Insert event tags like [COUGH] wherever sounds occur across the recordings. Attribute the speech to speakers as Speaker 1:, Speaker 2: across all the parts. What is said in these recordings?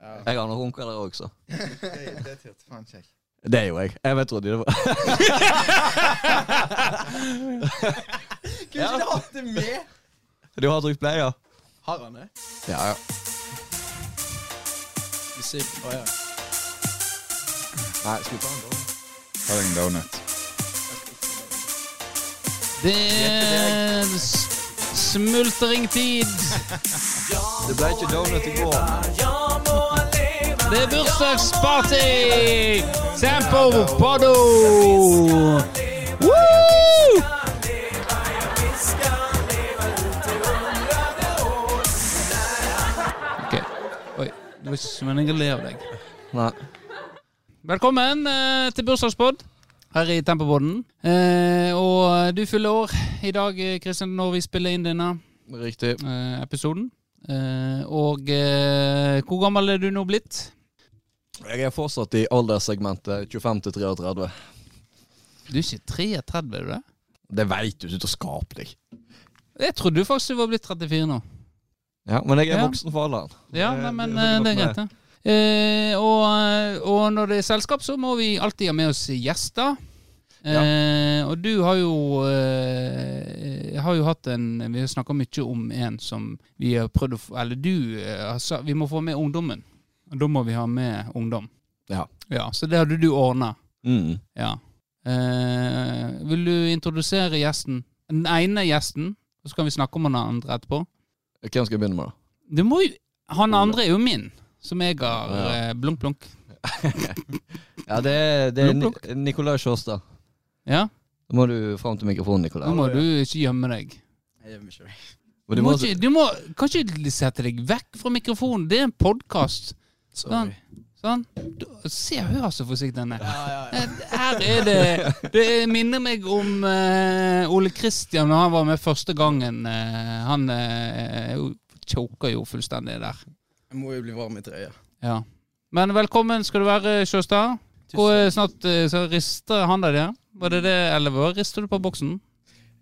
Speaker 1: Ja.
Speaker 2: Jeg har noen ungkarer òg, så.
Speaker 1: Det, det turte faen ikke jeg.
Speaker 2: Det er jo jeg. Jeg vet trodde det var
Speaker 3: Kunne ikke du hatt det med?
Speaker 2: [LAUGHS] Du har trykt play, ja?
Speaker 3: Har han det?
Speaker 2: Ja, ja.
Speaker 3: Musikk? Å ja.
Speaker 2: Nei, skal vi ta den da?
Speaker 1: Ta deg en donut.
Speaker 4: Det er s- smultringtid.
Speaker 2: [LAUGHS] Det ble ikke donut i går.
Speaker 4: Det er bursdagsparty! Tempo Podo! Woo! Ok. Oi, det var ikke som en jeg ler av deg.
Speaker 2: Nei.
Speaker 4: Velkommen eh, til bursdagspod her i Tempobodden. Eh, og du fyller år i dag, eh, Kristian, når vi spiller inn denne
Speaker 2: Riktig.
Speaker 4: eh, episoden. Eh, og eh, hvor gammel er du nå blitt?
Speaker 2: Jeg er fortsatt i alderssegmentet 25 til 33.
Speaker 4: Du er ikke 33, er du det?
Speaker 2: Det veit du, du skal skape deg.
Speaker 4: Jeg trodde du faktisk du var blitt 34 nå.
Speaker 2: Ja, Men jeg er
Speaker 4: Ja.
Speaker 2: voksen for alderen.
Speaker 4: Ja,
Speaker 2: Det-
Speaker 4: nei, men
Speaker 2: det-
Speaker 4: eh,
Speaker 2: det-
Speaker 4: det er greit, det. Eh, og, eh, og når det er selskap, så må vi alltid ha med oss gjester. Eh, og du har jo eh, har jo hatt en Vi har snakka mye om en som vi har prøvd å få Eller du eh, har sa- Vi må få med ungdommen. Og da må vi ha med ungdom.
Speaker 2: Ja.
Speaker 4: ja så det hadde du ordna.
Speaker 2: Mm.
Speaker 4: Ja. Eh, vil du introdusere gjesten? Den ene gjesten, og så kan vi snakke om den andre etterpå.
Speaker 2: Hvem skal jeg begynne med, da?
Speaker 4: Du må jo Han andre er jo min, som jeg har
Speaker 2: Ja.
Speaker 4: eh, blunk, blunk.
Speaker 2: Ja, det er, det er
Speaker 4: Plukk,
Speaker 2: Ni- Nicolai Sjåstad.
Speaker 4: Ja,
Speaker 2: Da må du fram til mikrofonen,
Speaker 4: Nå
Speaker 2: Nicolai.
Speaker 4: må du ikke gjemme deg.
Speaker 3: Jeg gjør meg ikke det.
Speaker 2: Men
Speaker 4: Du
Speaker 2: du
Speaker 4: må,
Speaker 2: må-
Speaker 4: ikke, du må kanskje sette deg vekk fra mikrofonen. Det er en podkast. Sånn. sånn. Du, se og hør så forsiktig han er.
Speaker 3: Ja, ja, ja.
Speaker 4: Eh, Her er det Det minner meg om eh, Ole Kristian da han var med første gangen. eh, han eh, choker jo fullstendig der.
Speaker 3: Jeg må jo bli varm i trøya.
Speaker 4: Ja. Men velkommen skal du være, Sjåstad. Hvor eh, snart eh, så rister handa di. Var det det, eller hva rister du på boksen?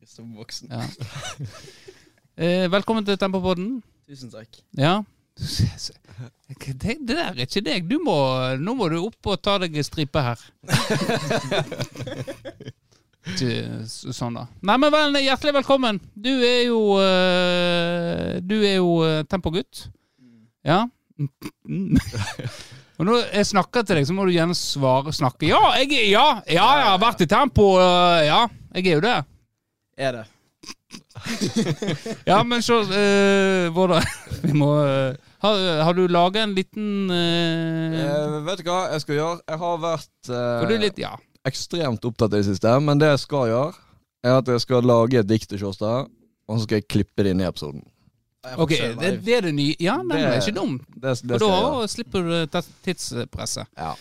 Speaker 3: Jeg står på boksen.
Speaker 4: Ja. Eh, velkommen til Tempopodden.
Speaker 3: Tusen takk.
Speaker 4: Ja. Det, det der er ikke deg. Du må, nå må du opp og ta deg en stripe her. Ikke s- sånn, da. Nei, men vel, hjertelig velkommen. Du er jo eh, Du er jo eh, tempogutt. Ja. Mm. Og når jeg snakker til deg, så må du gjerne svare snakke. Ja, jeg, er- ja, ja, jeg har vært i tempo. eh, Ja, jeg er jo det.
Speaker 3: Er det?
Speaker 4: Ja, men så eh, Vårdal, [LAUGHS] vi må eh, har, har du laga en liten eh,
Speaker 2: Eh, vet du hva jeg skal gjøre? Jeg har vært
Speaker 4: Får du
Speaker 2: eh,
Speaker 4: litt Ja.
Speaker 2: ekstremt opptatt i det siste, men det jeg skal gjøre, er at jeg skal lage et dikt til Sjåstad, og så skal jeg klippe det inn i episoden.
Speaker 3: Jeg får
Speaker 4: Ok,
Speaker 3: se live.
Speaker 4: det, det er det nye. Ja, nei, det er ikke dum.
Speaker 2: Det, det
Speaker 4: For
Speaker 2: skal jeg gjøre.
Speaker 4: da slipper du ta- tidspresset.
Speaker 2: Ja.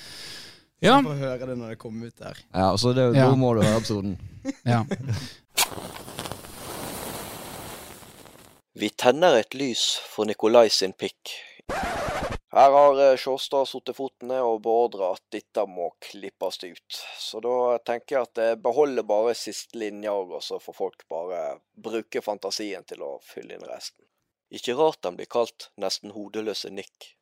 Speaker 4: Ja.
Speaker 3: Jeg får høre det når det kommer ut der.
Speaker 2: ja, så det,
Speaker 4: Ja.
Speaker 2: da må du høre episoden.
Speaker 4: ja.
Speaker 5: Vi tenner et lys for Nikolai sin pikk. Her har eh, Sjåstad satt foten ned og beordra at dette må klippes ut. Så da tenker jeg at jeg beholder bare siste linja, og så får folk bare bruke fantasien til å fylle inn resten. Ikke rart han blir kalt nesten hodeløse Nick.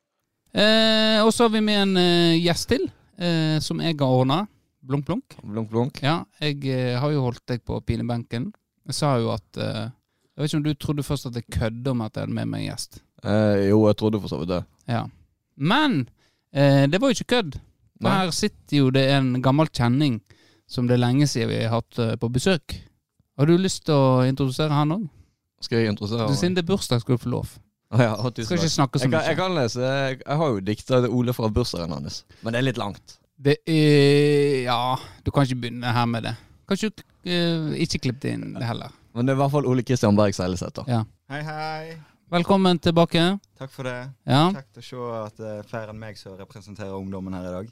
Speaker 4: Eh, og så har vi med en eh, gjest til, eh, som jeg har ordna. Blunk, blunk.
Speaker 2: Blunk, blunk.
Speaker 4: Ja, jeg eh, har jo holdt deg på pinebenken. Jeg sa jo at eh, Jeg vet ikke om du trodde først at jeg kødda med at jeg hadde med meg en gjest.
Speaker 2: Eh, jo, jeg trodde for så vidt det.
Speaker 4: Ja. Men eh, det var jo ikke kødd. For
Speaker 2: Nei.
Speaker 4: Her sitter jo det en gammel kjenning som det er lenge siden vi har hatt eh, på besøk. Har du lyst til å introdusere han òg?
Speaker 2: Skal jeg interessere meg?
Speaker 4: Siden det er bursdag, skal du få lov.
Speaker 2: Ah, [LAUGHS] ja, å, tusen
Speaker 4: Skal ikke
Speaker 2: takk.
Speaker 4: snakke så
Speaker 2: jeg, kan,
Speaker 4: mye.
Speaker 2: jeg kan lese Jeg, jeg har jo dikta til Ole fra bursdagen hans, men det er litt langt.
Speaker 4: Det er Ja, du kan ikke begynne her med det. Kanskje du eh, ikke klipp det inn det heller.
Speaker 2: Men det er i hvert fall Ole Kristian Berg Seileseth, da.
Speaker 6: Hei, hei.
Speaker 4: Velkommen tilbake.
Speaker 6: Takk for det.
Speaker 4: Ja,
Speaker 6: Kjekt å se at det er flere enn meg som representerer ungdommen her i dag.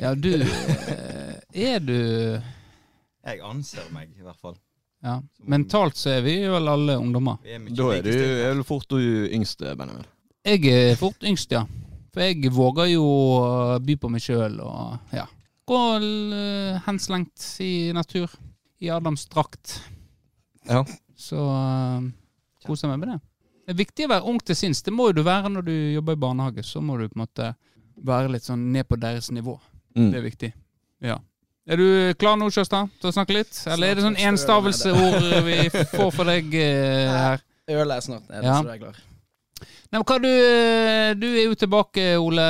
Speaker 4: ja du eh, Er du
Speaker 6: Jeg anser meg, i hvert fall.
Speaker 4: ja. Mentalt så er vi vel alle ungdommer.
Speaker 6: Vi er mye
Speaker 2: Da er du
Speaker 6: likestilt.
Speaker 2: er vel fort du yngste, Benjamin.
Speaker 4: Jeg er fort yngst, ja. For jeg våger jo å by på meg sjøl og ja. Gå eh, henslengt i natur. I Adams drakt.
Speaker 2: Ja.
Speaker 4: Så eh, koser jeg meg med det. Det er viktig å være ung til sinns. Det må jo du være når du jobber i barnehage. Så må du på en måte være litt sånn ned på deres nivå.
Speaker 2: Mm.
Speaker 4: Det er viktig. Ja. Er du klar nå, Kjøstad, til å snakke litt? Eller er det sånn enstavelseord vi får for deg eh, her?
Speaker 3: Ølet er snart nede,
Speaker 4: Ja.
Speaker 3: så du er klar.
Speaker 4: Nei, men hva du, eh, du er jo tilbake, Ole.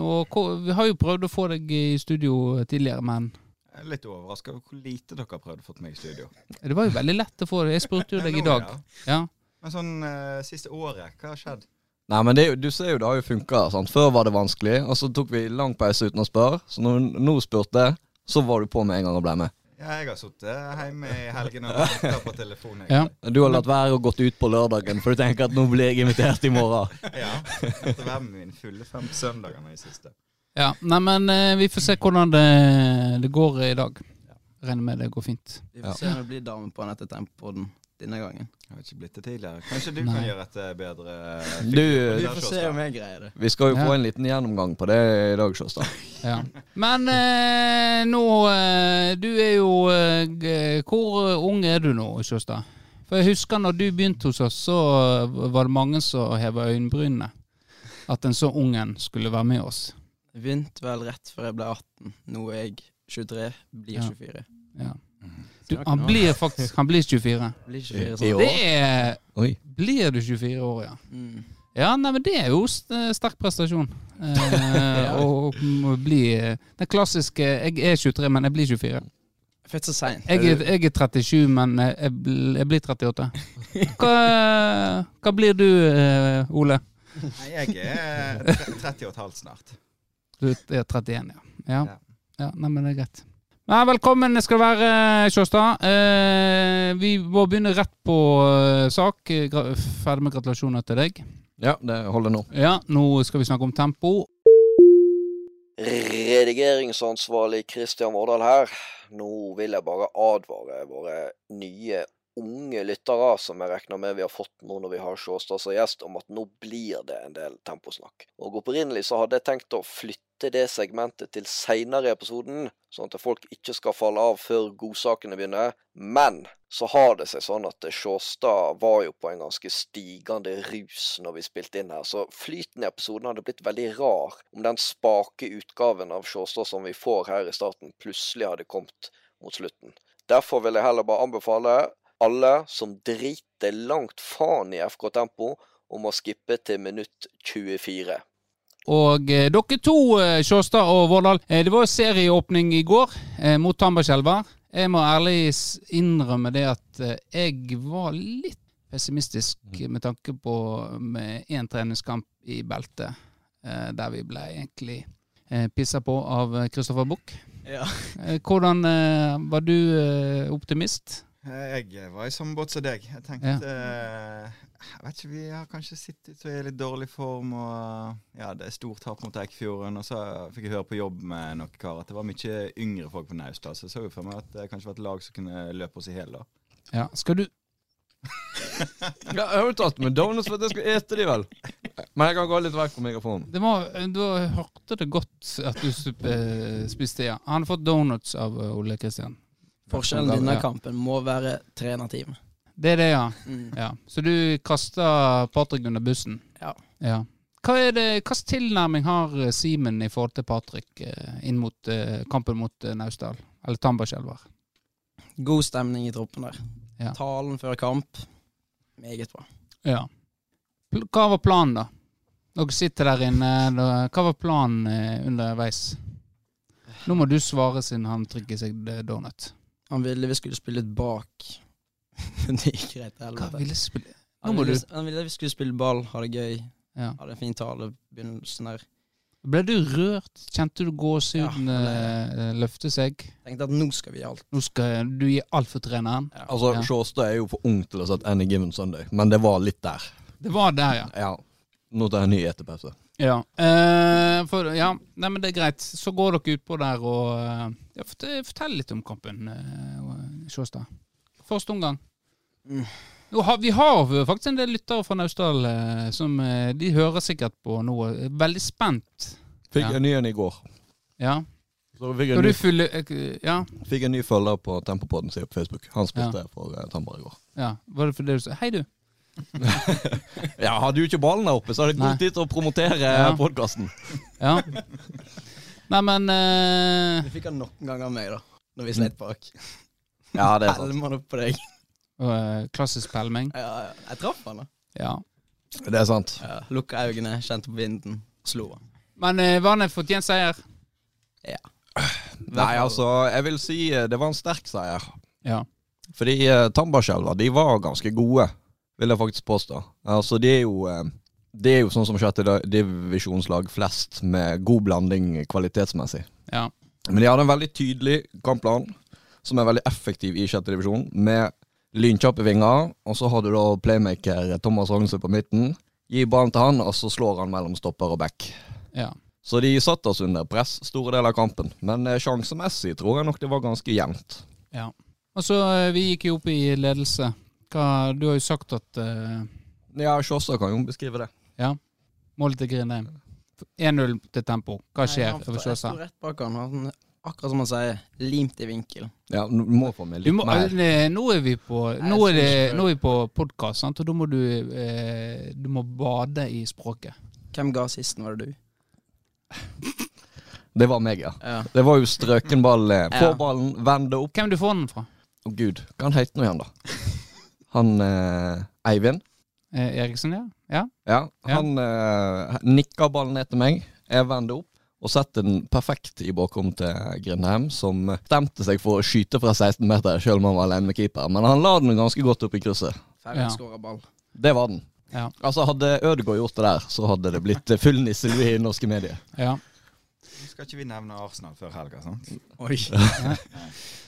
Speaker 4: Og hva- vi har jo prøvd å få deg i studio tidligere, men
Speaker 6: Jeg er litt overraska over hvor lite dere har prøvd å få meg i studio.
Speaker 4: det var jo veldig lett å få det. Jeg spurte jo
Speaker 6: Men
Speaker 4: deg i
Speaker 6: nå,
Speaker 4: dag.
Speaker 6: ja.
Speaker 4: Ja.
Speaker 6: Men sånn eh, siste året, hva har skjedd?
Speaker 2: Nei, men det, er jo- du ser jo det har jo funka. sant? Før var det vanskelig, og så tok vi lang pause uten å spørre. Så når nå spurte, så var du på med en gang og ble med.
Speaker 6: Ja, jeg har sittet hjemme i helgene og ventet på telefonen.
Speaker 4: Ja.
Speaker 6: egentlig.
Speaker 2: Du har latt være å gått ut på lørdagen, for du tenker at nå blir jeg invitert i morgen. [LAUGHS]
Speaker 6: Ja. Etter hver min fulle fem søndager nå i siste.
Speaker 4: ja. Nei, men eh, vi får se hvordan det, det går i dag. Regner med det går fint.
Speaker 3: Vi
Speaker 2: Ja.
Speaker 3: får se om det blir dame på Anette Tempoden denne gangen.
Speaker 6: Jeg har ikke blitt det tidligere. Kanskje du
Speaker 4: Nei.
Speaker 6: kan gjøre et eh, bedre
Speaker 2: Du,
Speaker 3: Vi får se om jeg greier det.
Speaker 2: vi skal jo
Speaker 4: Ja.
Speaker 2: få en liten gjennomgang på det i dag, Sjåstad.
Speaker 4: Ja. Men eh, nå eh, Du er jo eh, g- Hvor eh, ung er du nå, Sjøstad? For jeg husker når du begynte hos oss, så eh, var det mange som heva øyenbrynene. At en så ung en skulle være med oss.
Speaker 3: Jeg begynte vel rett før jeg ble 18. Nå er jeg 23, blir
Speaker 4: Ja.
Speaker 3: 24.
Speaker 4: Ja.
Speaker 3: Så jeg
Speaker 4: Du,
Speaker 3: har ikke
Speaker 4: han
Speaker 3: noe-
Speaker 4: blir faktisk han blir 24.
Speaker 3: blir 24
Speaker 2: I
Speaker 3: sånn.
Speaker 2: år?
Speaker 4: Det er
Speaker 2: Oi.
Speaker 4: Blir du 24 år, ja.
Speaker 3: Mm.
Speaker 4: Ja, nei, men Det er jo st- sterk prestasjon.
Speaker 2: [LAUGHS]
Speaker 4: Eh, å må bli eh, Den klassiske 'jeg er 23, men jeg blir 24'.
Speaker 3: Født så seint.
Speaker 4: Jeg er, jeg er 37, men eh, jeg, bl- jeg blir 38.
Speaker 2: [LAUGHS]
Speaker 4: Hva, hva blir du, eh, Ole?
Speaker 6: Nei, jeg er tre- 30 og et halvt snart.
Speaker 4: Du er 31, ja. Ja,
Speaker 6: Ja.
Speaker 4: ja nei, men det er greit. Nei, velkommen skal du være, Sjåstad. Eh, vi må begynne rett på eh, sak. Gra ferdig med gratulasjoner til deg.
Speaker 2: Ja, det holder nå.
Speaker 4: Ja, nå skal vi snakke om tempo.
Speaker 5: Redigeringsansvarlig Kristian Vårdal her. Nå vil jeg bare advare våre nye unge lyttere, som jeg regner med vi har fått nå når vi har Sjåstad som gjest, om at nå blir det en del temposnakk. Og opprinnelig så hadde jeg tenkt å flytte det segmentet til seinere i episoden, sånn at folk ikke skal falle av før godsakene begynner. Men så har det seg sånn at Sjåstad var jo på en ganske stigende rus når vi spilte inn her, så flyten i episoden hadde blitt veldig rar om den spake utgaven av Sjåstad som vi får her i starten, plutselig hadde kommet mot slutten. Derfor vil jeg heller bare anbefale alle som driter langt faen i FK Tempo, om å skippe til minutt 24.
Speaker 4: Og eh, dere to, eh, Sjåstad og Vårdal, eh, det var jo serieåpning i går eh, mot Tambarskjelva. Jeg må ærlig s- innrømme det at eh, jeg var litt pessimistisk med tanke på med én treningskamp i beltet, eh, der vi ble egentlig eh, pissa på av eh, Christopher Buch.
Speaker 3: Ja.
Speaker 4: Eh, hvordan eh, Var du eh, optimist?
Speaker 6: Eh, Jeg var i samme båt som deg. Jeg tenkte eh, Jeg vet ikke, vi har kanskje sittet så i litt dårlig form, og ja, det er stort tap mot Eikfjorden. Og så fikk jeg høre på jobb med noen karer at det var mye yngre folk på Naustdal, så jeg så jo for meg at det kanskje var et lag som kunne løpe oss i hjel, da.
Speaker 4: Ja, skal du
Speaker 2: Ja, jeg har jo tatt med donuts for at jeg skal ete de, vel. Men jeg kan gå litt vekk fra mikrofonen.
Speaker 4: det var, Du hørte det godt at du sup- eh, spiste, ja. Han har fått donuts av eh, Ole Kristian.
Speaker 3: Forskjellen denne kampen må være trenerteam.
Speaker 4: Det er det, ja.
Speaker 3: Mm.
Speaker 4: ja. Så du kasta Patrick under bussen?
Speaker 3: Ja.
Speaker 4: ja. Hva er det, Hvilken tilnærming har eh, Simen i forhold til Patrick eh, inn mot eh, kampen mot eh, Naustdal? Eller Tambarskjelver?
Speaker 3: God stemning i troppen der.
Speaker 4: Ja.
Speaker 3: Talen før kamp, meget bra.
Speaker 4: Ja. Pl- Hva var planen, da? Dere sitter der inne. da- Hva var planen eh, underveis? Nå må du svare siden han trykker seg d- donut.
Speaker 3: Han ville vi skulle spille litt bak. [LAUGHS] Men det gikk greit til
Speaker 4: Hva
Speaker 3: helvete.
Speaker 4: ville spille Nå
Speaker 3: Han
Speaker 4: må du
Speaker 3: ville, han ville vi skulle spille ball, ha det gøy,
Speaker 4: ja.
Speaker 3: ha det en fin tale i begynnelsen der.
Speaker 4: Ble du rørt? Kjente du
Speaker 3: Ja,
Speaker 4: gåsehuden
Speaker 3: det-
Speaker 4: eh, løfte seg?
Speaker 3: Tenkte at nå skal vi gi alt.
Speaker 4: Nå skal du gi alt for treneren.
Speaker 2: Altså,
Speaker 4: Ja.
Speaker 2: Sjåstad er jo for ung til å ha sett Any Given Sunday, men det var litt der.
Speaker 4: Det var der, ja.
Speaker 2: Ja. Nå tar jeg en ny etepause.
Speaker 4: Ja, eh, for, ja. Nei, men det er greit. Så går dere utpå der og eh, ja, fort- Fortell litt om kampen, eh, og- Sjåstad. Første omgang.
Speaker 3: Mm.
Speaker 4: Nå har, vi har jo faktisk en del lyttere fra Naustdal eh, som eh, de hører sikkert på nå. og er Veldig spent.
Speaker 2: Fikk
Speaker 4: Ja.
Speaker 2: en ny en i går.
Speaker 4: Ja.
Speaker 2: Så fikk
Speaker 4: Skal
Speaker 2: en,
Speaker 4: du
Speaker 2: ny,
Speaker 4: fylle eh, Ja.
Speaker 2: fikk en ny følger på Tempopodden sin på Facebook. Han spilte for eh, Tambar i går.
Speaker 4: ja. Var det fordi du sa Hei, du.
Speaker 2: Ja, Hadde jo ikke ballen der oppe, så hadde jeg
Speaker 4: Nei.
Speaker 2: god tid til å promotere
Speaker 4: Ja.
Speaker 2: podkasten.
Speaker 4: Ja. [LAUGHS] Nei, men eh,
Speaker 3: Du fikk han nok en gang av meg, da.
Speaker 4: Mm.
Speaker 3: Når vi sleit bak.
Speaker 2: Ja, det er sant.
Speaker 3: Helmer han opp på deg.
Speaker 4: øh, Klassisk pelming.
Speaker 3: Ja, ja. jeg traff han, da.
Speaker 4: Ja.
Speaker 2: Det er sant.
Speaker 3: Ja. Lukka øynene, kjente på vinden, slo han.
Speaker 4: Men eh, var det en fortjent seier?
Speaker 2: Nei, altså, jeg vil si eh, det var en sterk seier.
Speaker 4: Ja.
Speaker 2: Fordi eh, Tambarskjelva, de var ganske gode, vil jeg faktisk påstå. Altså, de er jo eh, Det er jo sånn som sjette da- divisjonslag flest, med god blanding kvalitetsmessig.
Speaker 4: Ja.
Speaker 2: Men de hadde en veldig tydelig kampplan, som er veldig effektiv i sjette divisjon, med lynkjappe vinger, og så har du da playmaker Thomas Rognse på midten. Gi ballen til han, og så slår han mellom stopper og back.
Speaker 4: ja.
Speaker 2: Så de satt oss under press store deler av kampen, men eh, sjansemessig tror jeg nok det var ganske jevnt.
Speaker 4: Og så eh, Vi gikk jo opp i ledelse. Hva, du har jo sagt at eh,
Speaker 2: Ja, Sjåstad kan jo beskrive det.
Speaker 4: målet til Grindheim 1-0 til tempo. Hva
Speaker 3: Nei,
Speaker 4: skjer
Speaker 3: han-
Speaker 4: over
Speaker 3: Jeg sto
Speaker 4: Sjåstad?
Speaker 3: rett bak han, og han, akkurat som han sier, limt i vinkel.
Speaker 2: Ja, du må få med
Speaker 4: Du
Speaker 2: litt
Speaker 4: må,
Speaker 2: mer.
Speaker 4: eh, nå er vi på
Speaker 3: Nei,
Speaker 4: Nå er,
Speaker 3: jeg
Speaker 4: det,
Speaker 3: skal ikke-
Speaker 4: nå er vi på podkast, og da må du eh, Du må bade i språket.
Speaker 3: Hvem ga sisten, var det du?
Speaker 2: Det var meg, ja.
Speaker 3: Ja.
Speaker 2: Det var jo strøken ball. eh, Få
Speaker 3: Ja.
Speaker 2: ballen, vend det opp.
Speaker 4: Hvem du får den fra?
Speaker 2: Å gud, hva han heter nå igjen, da? Han eh, Eivind.
Speaker 4: Eh, Eriksen, ja? Ja.
Speaker 2: Ja,
Speaker 4: Ja.
Speaker 2: han eh, nikker ballen ned til meg. Jeg vender opp og setter den perfekt i bakrom til Grindheim, som bestemte seg for å skyte fra 16 meter, selv om han var alene med keeper. Men han la den ganske godt opp i krysset.
Speaker 3: Færre
Speaker 4: Ja.
Speaker 3: skåra ball.
Speaker 2: Det var den.
Speaker 4: Ja.
Speaker 2: Altså Hadde Ødegaard gjort det der, så hadde det blitt full nisselue i norske medier.
Speaker 4: ja.
Speaker 6: Skal ikke vi nevne Arsenal før helga, sant?
Speaker 3: Oi.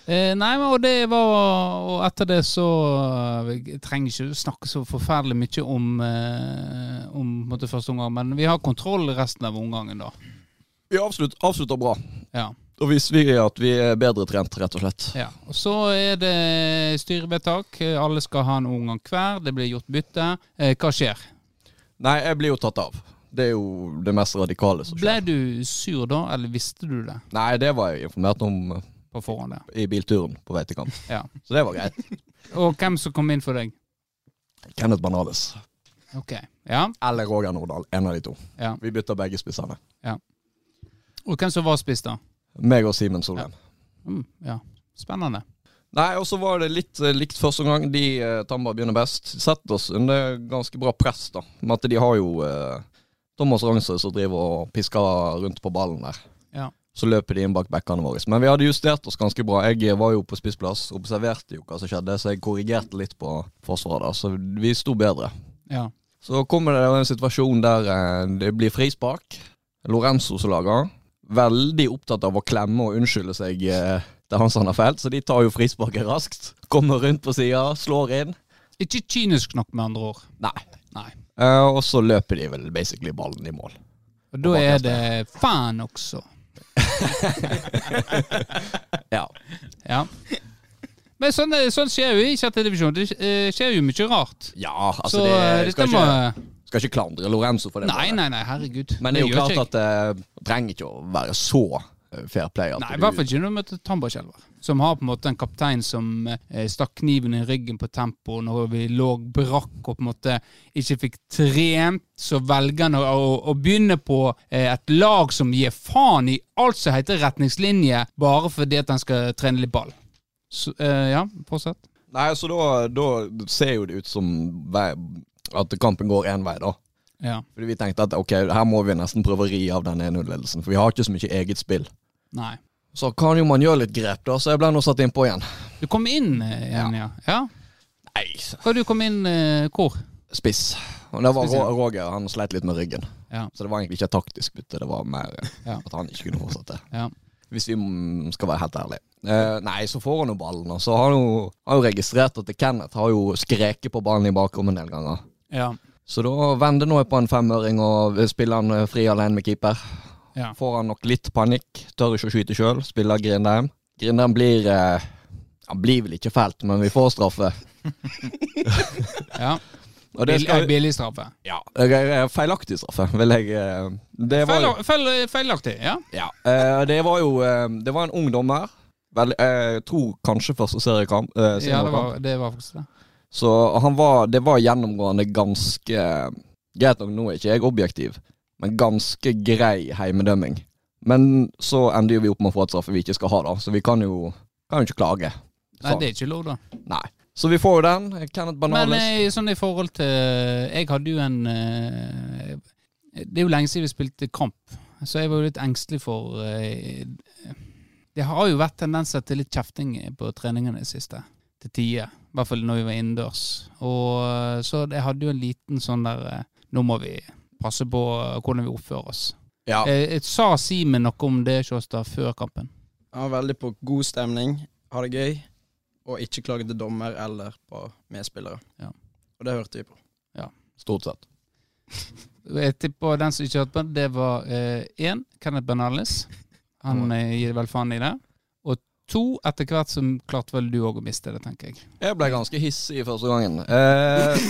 Speaker 4: Eh, nei, men, og det var Og etter det så eh, Jeg trenger ikke snakke så forferdelig mye om, eh, om på en måte, første omgang, men vi har kontroll resten av omgangen, da.
Speaker 2: Vi avslutter, avslutter bra.
Speaker 4: Ja.
Speaker 2: Da viser vi at vi er bedre trent, rett og slett.
Speaker 4: ja. Og så er det styrevedtak. Eh, Alle skal ha en omgang hver. Det blir gjort bytte. Eh, hva skjer?
Speaker 2: Nei, jeg blir jo tatt av. Det er jo det mest radikale som
Speaker 4: Ble
Speaker 2: skjer.
Speaker 4: du sur da, eller visste du det
Speaker 2: Nei, det var jeg informert om eh,
Speaker 4: på forhånd? ja?
Speaker 2: i bilturen på vei til kamp.
Speaker 4: Ja.
Speaker 2: Så det var greit.
Speaker 4: Og hvem som kom inn for deg?
Speaker 2: Kenneth Banales.
Speaker 4: Ok, ja.
Speaker 2: Eller Roger Nordahl. En av de to.
Speaker 4: ja.
Speaker 2: Vi bytter begge spissene.
Speaker 4: Og hvem som var spiss, da?
Speaker 2: Meg og Simen Solheim.
Speaker 4: Mm, ja. Spennende.
Speaker 2: Nei, og så var det litt eh, likt første gang. De eh, Tambar begynner best. Setter oss under ganske bra press, da. Med at de har jo eh, Thomas Rangsø som driver og pisker rundt på ballen der.
Speaker 4: Ja.
Speaker 2: Så løper de inn bak backene våre. Men vi hadde justert oss ganske bra. Jeg eh, var jo på spissplass, observerte jo hva som skjedde, så jeg korrigerte litt på forsvaret. da. Så vi sto bedre.
Speaker 4: Ja.
Speaker 2: Så kommer det en situasjon der eh, det blir frispark. Lorenzo som lager. Veldig opptatt av å klemme og unnskylde seg eh, til han som har felt, så de tar jo frisparket raskt. Kommer rundt på sida, slår inn.
Speaker 4: Ikke kynisk nok, med andre ord.
Speaker 2: Nei.
Speaker 4: Nei.
Speaker 2: Eh, og så løper de vel basically ballen i mål.
Speaker 4: Og da er det fan også.
Speaker 2: Ja.
Speaker 4: Ja. [LAUGHS] Men sånn, sånn skjer jo i sjette divisjon. Det eh, skjer jo mye rart.
Speaker 2: Ja, altså
Speaker 4: Så eh,
Speaker 2: det,
Speaker 4: dette
Speaker 2: skal,
Speaker 4: må
Speaker 2: ikke, skal ikke klandre Lorenzo for det.
Speaker 4: Nei,
Speaker 2: målet.
Speaker 4: nei, nei, herregud.
Speaker 2: Men det er jo
Speaker 4: gjør
Speaker 2: klart
Speaker 4: ikke jeg.
Speaker 2: at eh, det trenger ikke å være så eh, fair play. At
Speaker 4: Nei, I
Speaker 2: du-
Speaker 4: hvert fall ikke når du møter Tambarskjelver. Som har på en måte en kaptein som eh, stakk kniven i ryggen på tempo når vi lå brakk og på en måte ikke fikk trent. Så velger han å, å, å begynne på eh, et lag som gir faen i alt som heter retningslinjer, bare fordi at han skal trene litt ball. Så, eh, ja, fortsett.
Speaker 2: Nei, så da, da ser jo det ut som vei, at kampen går én vei, da.
Speaker 4: Ja.
Speaker 2: Fordi vi tenkte at ok, her må vi nesten prøve å ri av den 1-0-ledelsen, for vi har ikke så mye eget spill.
Speaker 4: Nei.
Speaker 2: Så kan jo man gjøre litt grep, da, så jeg ble nå satt innpå igjen.
Speaker 4: Du kom inn eh, igjen, ja. ja.
Speaker 2: Nei,
Speaker 4: Hva du kom inn eh, hvor?
Speaker 2: spiss. Og det var
Speaker 4: Spiss, ja.
Speaker 2: Ro- Roger, han sleit litt med ryggen.
Speaker 4: Ja.
Speaker 2: Så det var egentlig ikke et taktisk bytte, det var mer eh,
Speaker 4: Ja.
Speaker 2: at han ikke kunne fortsette.
Speaker 4: Ja.
Speaker 2: Hvis vi mm, skal være helt ærlige. Eh, nei, så får han jo ballen, og så har han jo, har jo registrert at Kenneth har jo skreket på ballen i bakrommet en del ganger.
Speaker 4: Ja.
Speaker 2: Så da vender nå jeg på en femøring og spiller han eh, fri alene med keeper.
Speaker 4: Ja.
Speaker 2: Får han nok litt panikk, tør ikke å skyte sjøl, spiller Grindheim. Grindheim blir eh, Han blir vel ikke felt, men vi får straffe.
Speaker 4: [LAUGHS] ja.
Speaker 2: Og det skal,
Speaker 4: Bill- Billig straffe.
Speaker 2: ja, eh, feilaktig straffe, vil jeg eh, Det var jo,
Speaker 4: Feil, feil, feilaktig, ja.
Speaker 2: ja, eh, det var, jo eh, det var en ung dommer. Vel, eh, jeg tror kanskje første seriekamp. Eh,
Speaker 4: ja det,
Speaker 2: seriekamp.
Speaker 4: var, det var faktisk det.
Speaker 2: Så han var, det var gjennomgående ganske Greit nok, nå er ikke jeg objektiv, men ganske grei heimedømming. Men så ender jo vi opp med å få et straffe vi ikke skal ha, da. Så vi kan jo, kan jo ikke klage.
Speaker 4: Nei, det er ikke lov, da.
Speaker 2: Nei. Så vi får jo den. Kenneth
Speaker 4: Men
Speaker 2: Banales.
Speaker 4: eh, sånn i forhold til Jeg hadde jo en eh, Det er jo lenge siden vi spilte kamp, så jeg var jo litt engstelig for eh, Det har jo vært tendenser til litt kjefting på treningene i det siste. Til tider. I hvert fall når vi var innendørs. Og eh, Så jeg hadde jo en liten sånn der eh, Nå må vi passe på hvordan vi oppfører oss.
Speaker 2: ja.
Speaker 4: Eh, Jeg sa Simen noe om det Sjåstad, før kampen.
Speaker 3: Han var veldig på god stemning, ha det gøy, og ikke klage til dommer eller på medspillere.
Speaker 4: Ja.
Speaker 3: Og det hørte vi på.
Speaker 4: eh,
Speaker 2: Stort sett.
Speaker 4: Jeg tipper den som ikke hørte på, det var én Kenneth Bernales. Han eh, gir vel faen i det. Og to etter hvert som klarte vel du òg å miste det, tenker jeg.
Speaker 2: Jeg ble ganske hissig første gangen. Eh, [LAUGHS]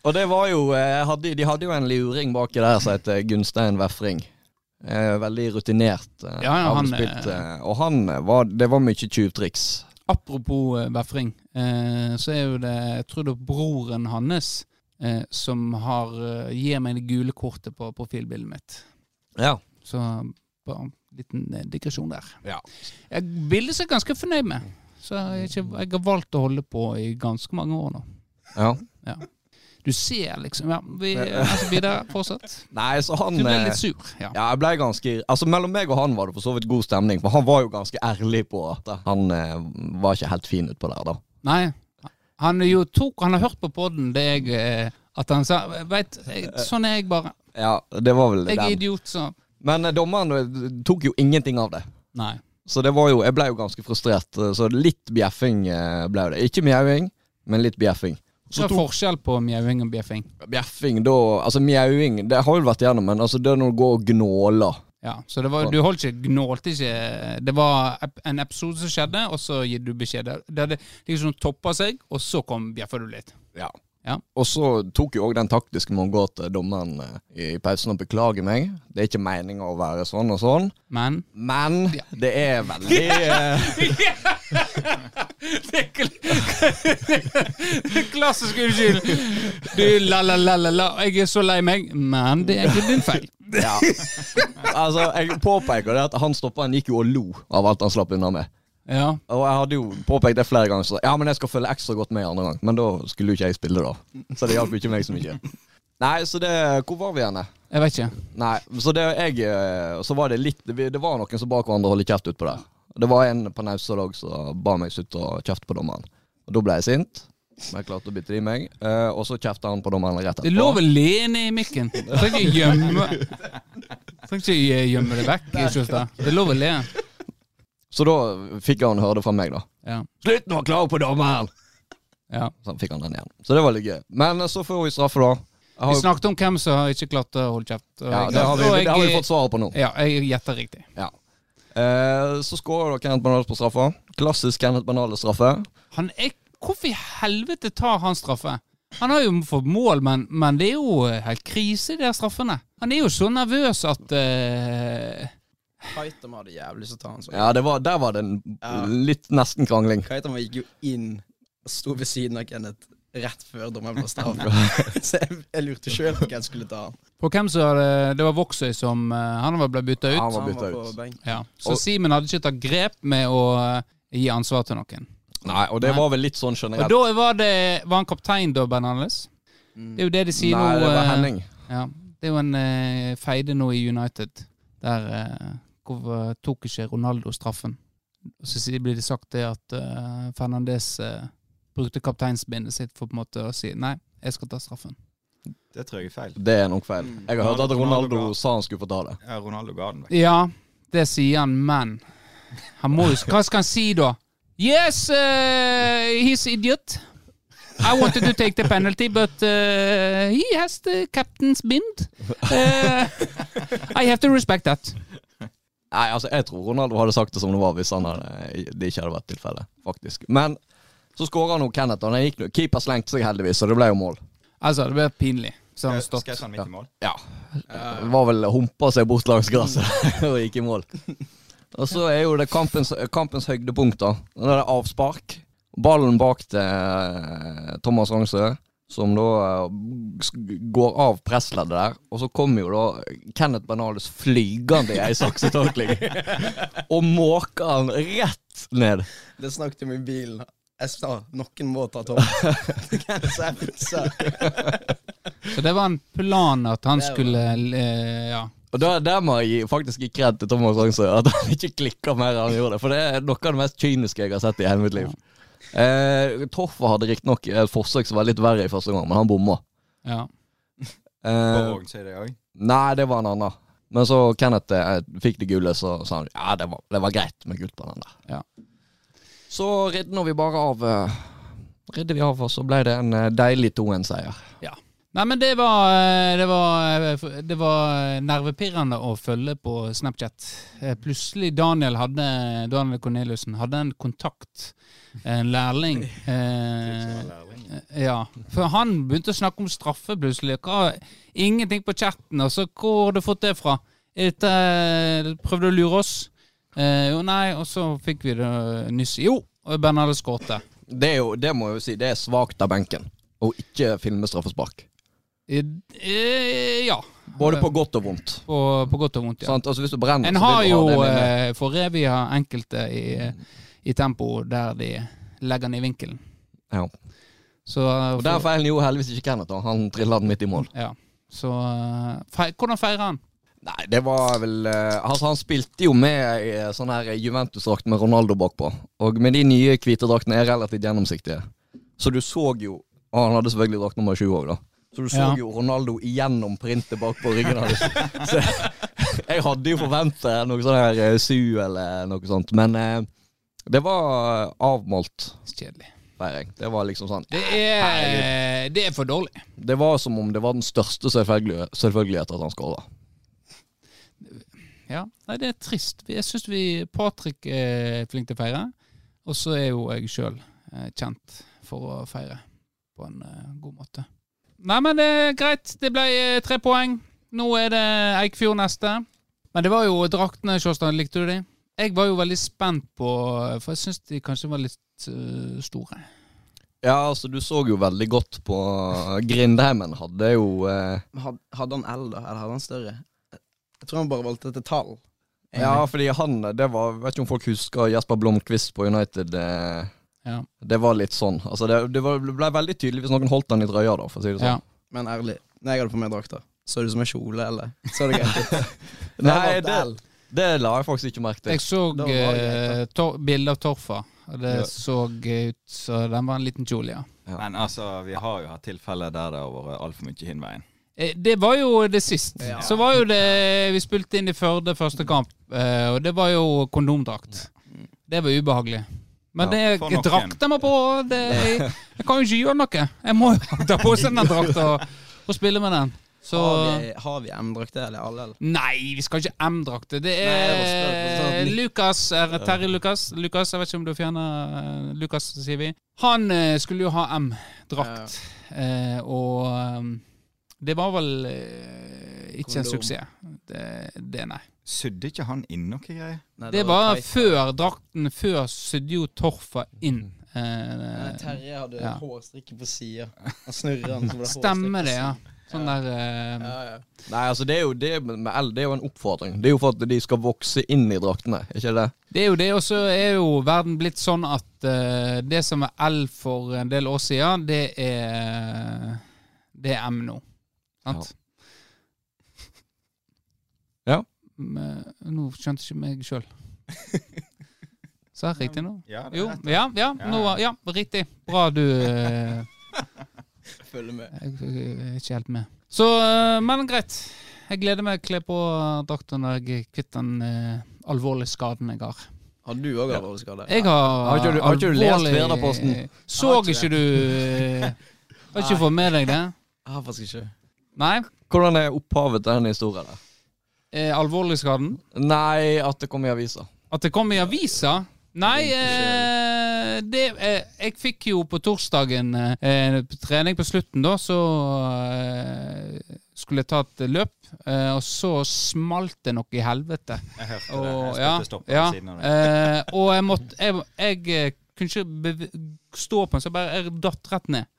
Speaker 2: og det var jo eh, hadde, De hadde jo en luring baki der som het eh, Gunstein Vefring. Eh, veldig rutinert. Eh,
Speaker 4: Ja, ja, han,
Speaker 2: avspilt,
Speaker 4: eh,
Speaker 2: eh, og han eh, var Det var mye tjuvtriks.
Speaker 4: Apropos eh, Vefring, eh, så er jo det Jeg tror det er broren hans eh, som har, eh, gir meg det gule kortet på profilbildet mitt.
Speaker 2: Ja.
Speaker 4: Så bare en liten eh, digresjon der.
Speaker 2: Ja.
Speaker 4: Jeg bildet er jeg ganske fornøyd med. Så jeg, er ikke, jeg har valgt å holde på i ganske mange år nå.
Speaker 2: ja.
Speaker 4: Du ser liksom Ja, vi er videre
Speaker 2: [LAUGHS]
Speaker 4: fortsatt.
Speaker 2: Nei, så han
Speaker 4: Du ble
Speaker 2: eh,
Speaker 4: litt sur. Ja.
Speaker 2: Ja, jeg ble ganske Altså Mellom meg og han var det for så vidt god stemning, for han var jo ganske ærlig på at han eh, var ikke helt fin utpå der, da.
Speaker 4: Nei. Han, jo tok, han har hørt på poden det jeg eh, At han sa Veit, jeg- sånn er jeg bare.
Speaker 2: Ja, det var vel
Speaker 4: Jeg er
Speaker 2: Eh, den.
Speaker 4: idiot, så
Speaker 2: Men eh, dommeren eh, tok jo ingenting av det.
Speaker 4: Nei.
Speaker 2: Så det var jo, jeg ble jo ganske frustrert, eh, så litt bjeffing eh, ble det. Ikke mjauing, men litt bjeffing.
Speaker 4: Så
Speaker 2: Så
Speaker 4: det er forskjell på mjauing og bjeffing.
Speaker 2: Bjeffing, da Altså mjauing, det har vi vært igjennom, men altså, det er når du går og gnåler.
Speaker 4: Ja, så det var, du holdt ikke, gnålte ikke. Det var ep- en episode som skjedde, og så gir du beskjed. Det- Det hadde liksom toppa seg, og så kom bjeffer du litt. Ja.
Speaker 2: Og så tok jo òg den taktiske med å gå til dommeren eh, i i pausen og beklage meg. Det er ikke meninga å være sånn og sånn,
Speaker 4: Men
Speaker 2: men det er veldig eh,
Speaker 4: Det er kl- [LAUGHS] Klassisk unnskyldning. Du, la-la-la-la, jeg er så lei meg, men det er ikke din feil.
Speaker 2: Ja. Altså, jeg påpeker det at han stoppa, han gikk jo og lo av alt han slapp unna med.
Speaker 4: Ja,
Speaker 2: Og jeg hadde jo påpekt det flere ganger, så ja, men jeg skal følge ekstra godt med andre gang. Men da skulle jo ikke jeg spille, da. Så det hjalp jo ikke meg så
Speaker 4: [LAUGHS]
Speaker 2: mye. Nei, så det Hvor var vi igjen?
Speaker 4: jeg vet ikke.
Speaker 2: Nei, så det jeg eh, Så var det litt Det var noen som ba hverandre holde kjeft utpå der. Det var en på Naustdal òg som ba meg slutte å kjefte på dommeren. Og da ble jeg sint. Men jeg klarte å bite det i meg. Eh, Og så kjefta han på dommeren rett
Speaker 4: Det er lov å lene i mikken. Du trenger ikke gjemme Trenger ikke gjemme det vekk. Kjøstad. Det er lov å le.
Speaker 2: Så da fikk han høre det fra meg, da.
Speaker 4: Ja.
Speaker 2: Slutt nå å klage på dommeren!
Speaker 4: ja.
Speaker 2: Så fikk han den igjen. Så det var litt gøy. Men eh, så får vi straffe, da. Jeg har
Speaker 4: Vi
Speaker 2: jo-
Speaker 4: snakket om hvem som har ikke klart å holde kjeft. og
Speaker 2: Ja,
Speaker 4: jeg-
Speaker 2: det har, vi,
Speaker 4: og jeg-
Speaker 2: det har vi fått svaret på nå.
Speaker 4: Ja, jeg gjetter riktig.
Speaker 2: Eh, så skårer da Kenneth Banale på straffa. Klassisk Kenneth Banale-straffe.
Speaker 4: Han er, hvorfor i helvete tar han straffe? Han har jo fått mål, men, men det er jo eh, helt krise, de her straffene. Han er jo så nervøs at eh,
Speaker 3: Kaitam hadde jævlig så ta han sånn.
Speaker 2: Ja, det var, der var det en
Speaker 3: Ja.
Speaker 2: litt nesten krangling.
Speaker 3: Kaitam gikk jo inn og sto ved siden av Kenneth rett før dommeren ble straffet. [LAUGHS] så jeg, jeg lurte sjøl på hvem jeg skulle ta han.
Speaker 4: På hvem som hadde Det var Voksøy som eh, Han var ble bytta ut.
Speaker 2: Han var
Speaker 3: Så
Speaker 2: byttet
Speaker 3: på
Speaker 2: ut.
Speaker 3: benk.
Speaker 4: Ja. Så
Speaker 2: Og-
Speaker 4: Simen hadde ikke tatt grep med å eh, gi ansvar til noen.
Speaker 2: Nei, og det
Speaker 4: Nei.
Speaker 2: var vel litt sånn
Speaker 4: Og
Speaker 2: generelt.
Speaker 4: da var det Var han kaptein da, Bernales?
Speaker 3: Mm.
Speaker 4: Det er jo det de sier
Speaker 2: Nei,
Speaker 4: nå.
Speaker 2: det var
Speaker 4: eh,
Speaker 2: Henning.
Speaker 4: Ja, det er jo en eh, feide nå i United. Der eh, hvor eh, tok ikke Ronaldo straffen. Og så sier- blir det sagt det at eh, Fernandes eh, brukte kapteinsbindet sitt for på en måte å si nei, jeg skal ta straffen.
Speaker 6: Det tror jeg er feil.
Speaker 2: Det er nok feil.
Speaker 3: Mm.
Speaker 2: Jeg har hørt at
Speaker 6: Ronaldo-
Speaker 2: Ronaldo
Speaker 6: Ronaldo-
Speaker 2: sa han skulle få ta det.
Speaker 6: Ja, Ronaldo ga den vekk.
Speaker 4: Ja, det sier han, men han må jo, Hva skal han si da? Yes, eh, he's idiot. I wanted to take the penalty, but eh, he has the captain's bind. Eh, I have to respect that.
Speaker 2: Nei, altså, jeg tror Ronaldo hadde sagt det som det var hvis han hadde, det ikke hadde vært tilfellet, faktisk. Men så skåra nå Kenneth, og han gikk nå. Keeper slengte seg heldigvis, så det ble jo mål.
Speaker 4: Altså, det ble pinlig. Så han
Speaker 6: Skal,
Speaker 4: stått.
Speaker 6: Eh, skal jeg ta den midt i mål?
Speaker 2: Ja. Det var vel humpa seg bort langs gresset [LAUGHS] og gikk i mål. Og så er jo det kampens, kampens høydepunkt, da. Når det er avspark. Ballen bak til eh, Thomas Rangsø, som da eh, sk- går av pressleddet der. Og så kommer jo da Kenneth Bernales flygende i ei saksetolkning. og måker han rett ned.
Speaker 3: Det snakket vi om i bilen. Jeg sa noen må ta Thomas. [LAUGHS] Det kan jeg si, jeg sa.
Speaker 4: Så det var en plan at han
Speaker 3: Det var-
Speaker 4: skulle eh, Ja.
Speaker 2: Og der, der må jeg gi- faktisk gi kred til Thomas Rangsø, at han ikke klikka mer enn han gjorde. For det er noe av det mest kyniske jeg har sett i hele mitt liv. Eh, Torfa hadde riktignok et forsøk som var litt verre i første gang, men han bomma.
Speaker 4: ja.
Speaker 2: Eh,
Speaker 6: På Våg sier de òg.
Speaker 2: Nei, det var en annen. Men så Kenneth eh, fikk det gule, så sa han ja, det var, det var greit med gult på den der.
Speaker 4: Ja.
Speaker 2: Så ridder vi bare av eh, Ridder vi av, og så ble det en eh, deilig 2-1-seier.
Speaker 4: Nei, men det var, eh, det var, eh, det var nervepirrende å følge på Snapchat. Eh, Plutselig Daniel hadde Daniel Corneliussen hadde en kontakt, en lærling. Eh, ja, for han begynte å snakke om straffe plutselig. Hva, ingenting på chatten. Altså, hvor har du fått det fra? Er Dette prøvde å lure oss. Eh, jo, nei, og så fikk vi det eh, nyss. Jo, Bernhard skårte.
Speaker 2: Det, er jo, det må jeg jo si, det er svakt av benken å ikke filme straffespark.
Speaker 4: Eh, eh, ja.
Speaker 2: Både på godt og vondt.
Speaker 4: På, på godt og vondt, ja.
Speaker 2: Sant? Altså Hvis du brenner,
Speaker 4: En
Speaker 2: så
Speaker 4: har
Speaker 2: vil du
Speaker 4: jo
Speaker 2: ha det med.
Speaker 4: eh, for revia enkelte i, i tempo der de legger den i vinkelen.
Speaker 2: Ja.
Speaker 4: Så, eh,
Speaker 2: Og
Speaker 4: for-
Speaker 2: Der feilen jo heldigvis ikke Kenneth. da. Han trilla den midt i mål.
Speaker 4: ja. Så eh, fei, Hvordan feirer han?
Speaker 2: Nei, det var vel eh, Altså, han spilte jo med i eh, sånn her Juventus-drakt med Ronaldo bakpå. Og med de nye hvite draktene er relativt gjennomsiktige. Så du så jo Og han hadde selvfølgelig drakt nummer 20 òg, da. Så du så
Speaker 4: Ja.
Speaker 2: jo Ronaldo igjennom printet bakpå ryggen hans. [LAUGHS] Så jeg hadde jo forventet noe sånn her eh, Su eller noe sånt. Men eh, det var eh, avmålt
Speaker 4: Kjedelig.
Speaker 2: feiring. Det var liksom sånn
Speaker 4: Det er, det er for dårlig.
Speaker 2: Det var som om det var den største selvfølgelige- selvfølgelighet at han skåra.
Speaker 4: Ja, nei, det er trist. Jeg syns vi Patrick er flink til å feire, og så er jo jeg sjøl kjent for å feire på en eh, god måte. Nei, men det er greit. Det ble eh, tre poeng. Nå er det Eikfjord neste. Men det var jo draktene, Sjåstad. Likte du de? Jeg var jo veldig spent på eh, For jeg syns de kanskje var litt eh, store.
Speaker 2: Ja, altså du så jo veldig godt på eh, Grindheimen hadde jo eh,
Speaker 3: Had- Hadde han L, da? Eller hadde han større? Jeg tror han bare valgte et tall.
Speaker 2: Ja, fordi han eh, Det var Vet ikke om folk husker Jesper Blomkvist på United. Eh,
Speaker 4: Ja.
Speaker 2: Det var litt sånn. Altså det, det, var, det ble veldig tydelig hvis noen holdt han i trøya, da, for å si det
Speaker 4: Ja.
Speaker 2: sånn.
Speaker 3: Men ærlig, når jeg hadde på meg drakta, så det ut som en kjole, eller? Så det greit
Speaker 4: [LAUGHS]
Speaker 3: ut? Men jeg
Speaker 2: Nei,
Speaker 3: valgte
Speaker 2: det,
Speaker 3: L.
Speaker 2: det la jeg faktisk ikke merke
Speaker 4: Jeg
Speaker 2: til.
Speaker 4: så
Speaker 3: Da var det
Speaker 4: uh,
Speaker 3: greit,
Speaker 4: bilde av Torfa, og det
Speaker 2: Ja.
Speaker 4: så eh, ut så den var en liten kjole, ja.
Speaker 6: Men altså, vi har jo hatt tilfeller der det har vært altfor mye hinveien.
Speaker 4: Eh, Det var jo det sist.
Speaker 3: Ja.
Speaker 4: Så var jo det Vi spilte inn i Førde første kamp, eh, og det var jo kondomdrakt. Det var ubehagelig. Men
Speaker 2: Ja,
Speaker 4: det
Speaker 6: for
Speaker 4: er
Speaker 6: noen.
Speaker 4: drakt jeg må på. Det, jeg, jeg kan jo ikke gjøre noe. Jeg må jo [LAUGHS] ta på seg den drakta og, og spille med den. Så
Speaker 3: Har vi, har vi M-drakter, eller alle? Eller?
Speaker 4: Nei, vi skal ikke M-drakte. Det
Speaker 3: Nei, jeg var spent
Speaker 4: er
Speaker 3: på sånn.
Speaker 4: Lukas, er det Terje Lukas. Lukas, Jeg vet ikke om du fjerner eh, Lukas, sier vi. Han eh, skulle jo ha M-drakt, eh, og eh, det var vel eh, ikke en
Speaker 3: Kondom.
Speaker 4: suksess. Det, det, nei.
Speaker 6: Sydde ikke han inn noe greier?
Speaker 3: Nei,
Speaker 4: Det var
Speaker 3: Kai.
Speaker 4: før drakten. Før sydde jo Torfa inn.
Speaker 3: Nei,
Speaker 4: Eh,
Speaker 3: Terje hadde
Speaker 4: Ja.
Speaker 3: hårstrikke på sida. Han snurrer den, så ble det
Speaker 4: stemmer det, ja.
Speaker 3: hårstrikke
Speaker 4: Sånn der eh,
Speaker 3: på siden. Ja, ja.
Speaker 2: Nei, altså det er jo det med L, det er jo en oppfordring. Det er jo for at de skal vokse inn i draktene, er ikke det?
Speaker 4: Det er jo det, og så er jo verden blitt sånn at eh, det som var L for en del år siden, det er, det er M nå. Sant?
Speaker 2: Ja. [LAUGHS]
Speaker 4: Men, nå skjønte ikke meg sjøl. Sa jeg riktig nå?
Speaker 6: Ja, det
Speaker 4: Jo,
Speaker 6: er rett.
Speaker 4: ja, ja, nå, var- ja riktig. Bra du eh,
Speaker 3: Følg med.
Speaker 4: jeg, jeg er ikke helt med. Så, eh, men greit. Jeg gleder meg til å kle på drakten når jeg er kvitt den eh, alvorlige skaden jeg har.
Speaker 3: Har du òg alvorlig
Speaker 4: Jeg har
Speaker 2: Har ikke du- har ikke du lest
Speaker 4: alvorlig-
Speaker 2: Firdaposten?
Speaker 4: Så
Speaker 3: Jeg har
Speaker 4: ikke
Speaker 3: ikke
Speaker 4: du eh, Har ikke fått med deg det?
Speaker 3: Jeg har faktisk ikke.
Speaker 4: Nei?
Speaker 2: Hvordan er opphavet til den historien der?
Speaker 4: Eh, Alvorligskaden?
Speaker 2: Nei, at det kom i avisa.
Speaker 4: At det kom i avisa? Nei, eh, det eh, Jeg fikk jo på torsdagen eh, på trening på slutten, da, så eh, skulle jeg ta et løp, eh, og så smalt det noe i helvete.
Speaker 6: Jeg hørte det.
Speaker 4: Og,
Speaker 6: Jeg
Speaker 4: ja,
Speaker 6: spilte stopp på
Speaker 4: ja,
Speaker 6: siden av det.
Speaker 4: eh, og jeg måtte jeg, jeg eh, kunne ikke beve- stå på den, så jeg bare jeg datt rett ned.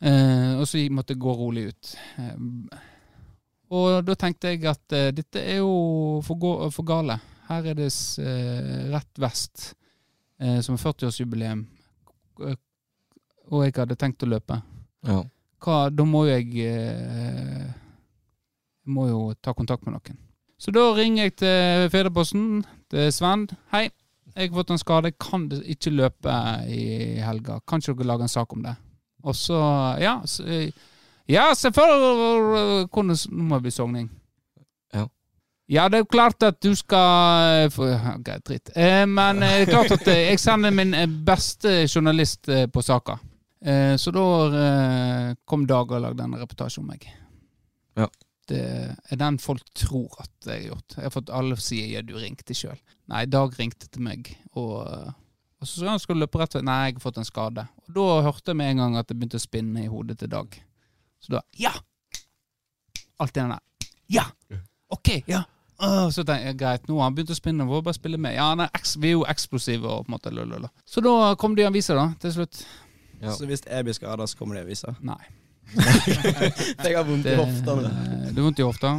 Speaker 4: Eh, og så måtte jeg gå rolig ut. Eh, og da tenkte jeg at eh, dette er jo for, gå, for gale. Her er det s- eh, rett vest, eh, som er 40-årsjubileum, eh, og jeg hadde tenkt å løpe.
Speaker 2: Ja.
Speaker 4: Hva, da må jo jeg eh, jeg må jo ta kontakt med noen. Så da ringer jeg til Federposten, til Sven. Hei, jeg har fått en skade. Jeg Kan det ikke løpe i helga? Kan ikke dere lage en sak om det? Og så Ja, s- ja selvfølgelig Hvordan Nå må jeg bli sogning.
Speaker 2: Ja.
Speaker 4: Ja, det er jo klart at du skal eh, få- Ok, dritt. Eh, Men eh, det er klart at eh, jeg sender min eh, beste journalist eh, på saka. Eh, Så da eh, kom Dag og lagde en reportasje om meg det er den folk tror at jeg har gjort. Jeg har fått alle sier ja, du ringte sjøl. Nei, Dag ringte til meg, og, og så sa han skulle løpe rett vei. Nei, jeg har fått en skade. Og da hørte jeg med en gang at det begynte å spinne i hodet til Dag. Så da Ja! Alltid den der. Ja! Ok, ja. Åh, så tenkte jeg, Greit, nå har han begynt å spinne, får bare spille med. Ja, han er eks- Vi er jo eksplosive. Og på en måte, lalalala. Så da kom det i avisa, da, til slutt.
Speaker 2: Ja.
Speaker 3: Så hvis jeg blir skada, så kommer det i avisa?
Speaker 4: Nei.
Speaker 3: [LAUGHS] Jeg har vondt i
Speaker 4: Det,
Speaker 3: hoftene.
Speaker 4: det er vondt i
Speaker 2: [LAUGHS]
Speaker 4: hofta?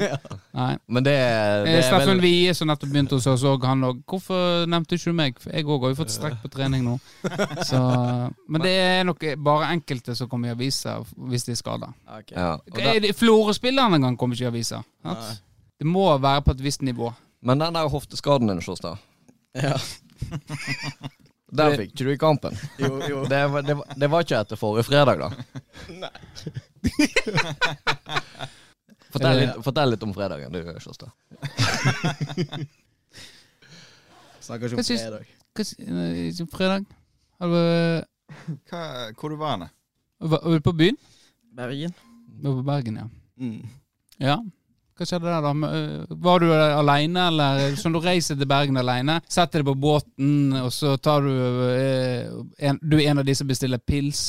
Speaker 4: Nei.
Speaker 2: Men det, det
Speaker 4: Eh,
Speaker 2: er
Speaker 4: Steffen
Speaker 2: vel
Speaker 4: Wie som nettopp begynte hos oss òg, han òg. Hvorfor nevnte ikke du meg? For jeg òg har jo fått strekk på trening
Speaker 2: [LAUGHS]
Speaker 4: nå. Så, men det er nok bare enkelte som kommer i avisa hvis de er skada.
Speaker 3: Ok.
Speaker 2: ja. og det-
Speaker 4: Florø-spillerne engang kommer ikke i avisa. sant?
Speaker 3: Nei.
Speaker 4: Det må være på et visst nivå.
Speaker 2: Men den der hofteskaden din, Sjåstad,
Speaker 3: Ja.
Speaker 2: [LAUGHS] den fikk ikke du i kampen.
Speaker 3: Jo, jo.
Speaker 2: Det var, det, var- det var ikke etter forrige fredag, da.
Speaker 3: Nei.
Speaker 2: [LAUGHS] Fortell litt, fortell litt om fredagen, du, Sjåstad.
Speaker 3: Snakker ikke
Speaker 4: Jeg
Speaker 3: om
Speaker 4: syns-
Speaker 3: fredag.
Speaker 4: Hva s- eh, Fredag? Har du-
Speaker 6: Hva, hvor du var hen?
Speaker 4: Var var du på byen?
Speaker 3: Bergen?
Speaker 4: Du var på Bergen, ja.
Speaker 3: Mm.
Speaker 4: ja. Hva skjedde der, da? Men, eh, Var du aleine, eller sånn du reiser til Bergen aleine? Setter deg på båten, og så tar du eh, en, Du er en av de som bestiller pils.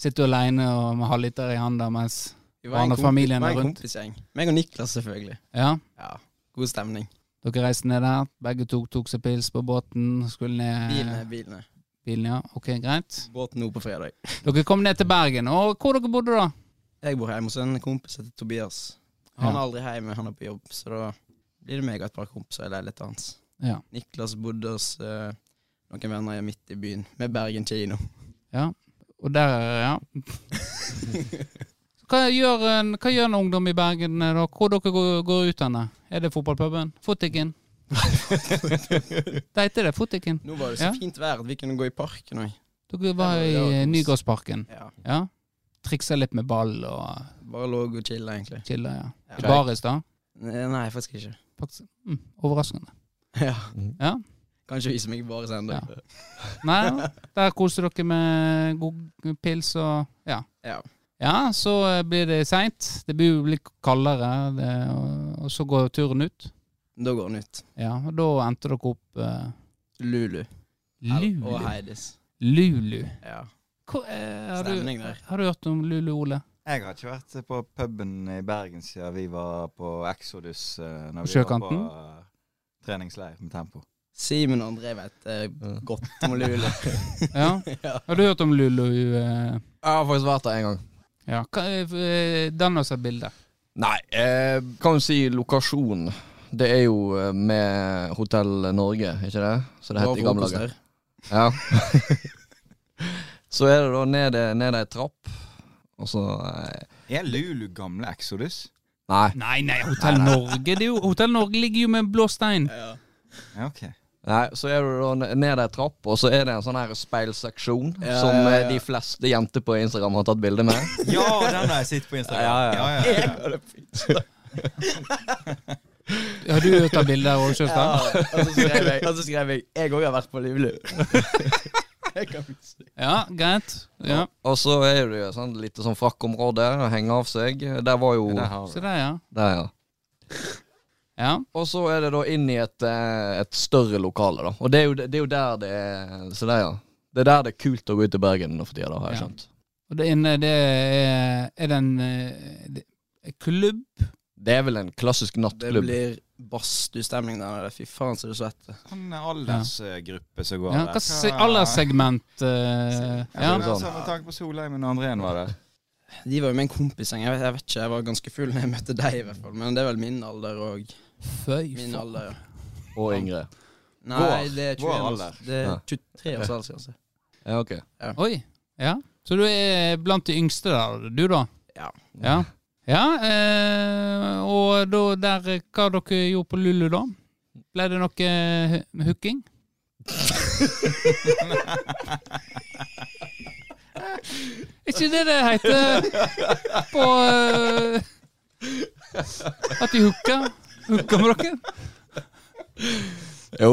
Speaker 4: Sitter du aleine med halvliter i handa mens
Speaker 3: Vi
Speaker 4: Og han og
Speaker 3: kompi-
Speaker 4: familien
Speaker 3: vi var
Speaker 4: er
Speaker 3: en
Speaker 4: rundt.
Speaker 3: kompisgjeng. Meg og Niklas, selvfølgelig.
Speaker 4: Ja,
Speaker 3: Ja, God stemning.
Speaker 4: dere reiste ned der. Begge to tok seg pils på båten. Skulle ned
Speaker 3: Bilene, bilene.
Speaker 4: Bilen, ja. Ok, greit.
Speaker 3: Båten nå på fredag.
Speaker 4: Dere kom ned til Bergen. Og hvor dere bodde da?
Speaker 3: Jeg bor hjemme hos en kompis som heter Tobias. Han
Speaker 4: Ja.
Speaker 3: er aldri hjemme, han er på jobb, så da blir det meg og et par kompiser i leiligheten hans.
Speaker 4: Ja.
Speaker 3: Niklas bodde hos eh, noen venner jeg er midt i byen, med Bergen kino.
Speaker 4: Og der,
Speaker 3: [LAUGHS]
Speaker 4: ja. Så Hva gjør, en, hva gjør en ungdom i Bergen eh, da? Hvor dere går, går ut henne? Er det fotballpuben?
Speaker 3: [LAUGHS]
Speaker 4: Fotikken? Det heter det, Fotikken.
Speaker 3: Nå var det så
Speaker 4: Ja.
Speaker 3: fint vær at vi kunne gå i parken òg.
Speaker 4: Dere var i
Speaker 3: Det var- det var
Speaker 4: eh,
Speaker 3: kos.
Speaker 4: Nygårdsparken.
Speaker 3: Ja.
Speaker 4: Ja. Triksa litt med ball og
Speaker 3: Bare lå og chilla, egentlig.
Speaker 4: chilla, ja.
Speaker 3: Ja.
Speaker 4: I baris, da?
Speaker 3: Nei, nei, faktisk ikke.
Speaker 4: Faktisk, mm, overraskende.
Speaker 3: Ja.
Speaker 4: Ja.
Speaker 3: Kanskje vise meg bare ennå.
Speaker 4: Ja. Nei, der koser dere med god pils og Ja.
Speaker 3: Ja.
Speaker 4: Ja, så eh, blir det seint. Det blir jo litt kaldere, det, og, og så går turen ut.
Speaker 3: Da går den ut.
Speaker 4: Ja, og da endte dere opp eh,
Speaker 3: Lulu.
Speaker 4: Lulu.
Speaker 3: Og Heidis.
Speaker 4: Lulu.
Speaker 3: Ja.
Speaker 4: Hvor, eh, har,
Speaker 3: Stemning
Speaker 4: du,
Speaker 3: der.
Speaker 4: har du hørt om Lulu,
Speaker 3: [LAUGHS]
Speaker 4: Ole?
Speaker 6: Jeg har ikke vært på puben i Bergen siden vi var på Exodus. eh, Når
Speaker 4: På
Speaker 6: vi
Speaker 4: sjøkanten?
Speaker 6: Var på eh, treningsleir med tempo.
Speaker 3: Simen og André vet eh,
Speaker 2: Mm.
Speaker 3: godt om
Speaker 2: [LAUGHS]
Speaker 3: Lulu.
Speaker 4: Ja.
Speaker 3: ja.
Speaker 4: Har du hørt om Lulu? Eh,
Speaker 2: Jeg har faktisk vært der en gang.
Speaker 4: ja. Hva, eh, Dann oss et bilde.
Speaker 2: Nei, eh, kan jo si lokasjon. Det er jo eh, med Hotell Norge, ikke det? Så det heter i gamle dager. Ja. [LAUGHS] så er det da ned, ned ei trapp, og så eh,
Speaker 6: Er Lulu gamle Exodus?
Speaker 2: Nei.
Speaker 4: Nei, nei, Hotell Norge det er jo, Hotel Norge ligger jo med en blå stein.
Speaker 3: Ja.
Speaker 6: Ja, ok.
Speaker 2: Nei, så er du da ne- ned ei trapp, og så er det en sånn her speilseksjon
Speaker 3: Ja,
Speaker 2: som
Speaker 3: ja,
Speaker 2: eh,
Speaker 3: ja.
Speaker 2: de fleste jenter på Instagram har tatt bilde med.
Speaker 6: Ja, den har jeg sett på Instagram.
Speaker 2: Ja, ja,
Speaker 6: ja. ja, ja.
Speaker 4: Har du hørt av bildet òg, Sjøstad?
Speaker 3: Og så skrev jeg Og så skrev jeg Jeg òg har vært på Lulu. Jeg kan vise deg.
Speaker 4: Ja, greit. Ja.
Speaker 2: Og så er det jo et sånn lite sånn frakkområde å henge av seg. Der var jo
Speaker 6: Der har
Speaker 4: Se
Speaker 6: vi.
Speaker 4: der, ja.
Speaker 2: Der, ja.
Speaker 4: ja.
Speaker 2: Og så er det da inn i et, eh, et større lokale, da. Og det er, jo, det er jo der det er Så der, ja. Det er der det er kult å gå ut i Bergen nå for tida, da, har jeg
Speaker 4: Ja.
Speaker 2: skjønt.
Speaker 4: Og det inne, det er, er det en eh, det- klubb?
Speaker 2: Det er vel en klassisk
Speaker 3: Det
Speaker 2: nattklubb.
Speaker 3: blir badstuestemning der nede. Fy faen, så du svetter.
Speaker 6: Han er aldersgruppe som går
Speaker 4: Ja,
Speaker 6: der.
Speaker 4: hva se- alderssegment eh,
Speaker 6: Ja,
Speaker 4: ja.
Speaker 6: men altså, Med tanke på Solheimen og Andrén var der.
Speaker 3: De var jo min kompisgjeng. Jeg, vet- jeg vet ikke, jeg var ganske full da jeg møtte deg, i hvert fall. Men det er vel min alder og
Speaker 4: Føy,
Speaker 3: Min
Speaker 4: faen.
Speaker 3: alder.
Speaker 2: Og Ingrid.
Speaker 3: Nei, det er 21
Speaker 6: vår
Speaker 3: års-
Speaker 6: alder.
Speaker 3: Det er
Speaker 2: Ja.
Speaker 3: 23 års aldersgrense.
Speaker 2: Ja, ok.
Speaker 4: Oi. Ja. Så du er blant de yngste der, du da?
Speaker 3: Ja.
Speaker 4: Ja, ja eh, og da der eh, Hva dere gjorde på Lulu da? Ble det noe eh, hu- hooking? Er ikke det det heter på eh, At de hooker? Hooker med dere?
Speaker 2: Jo.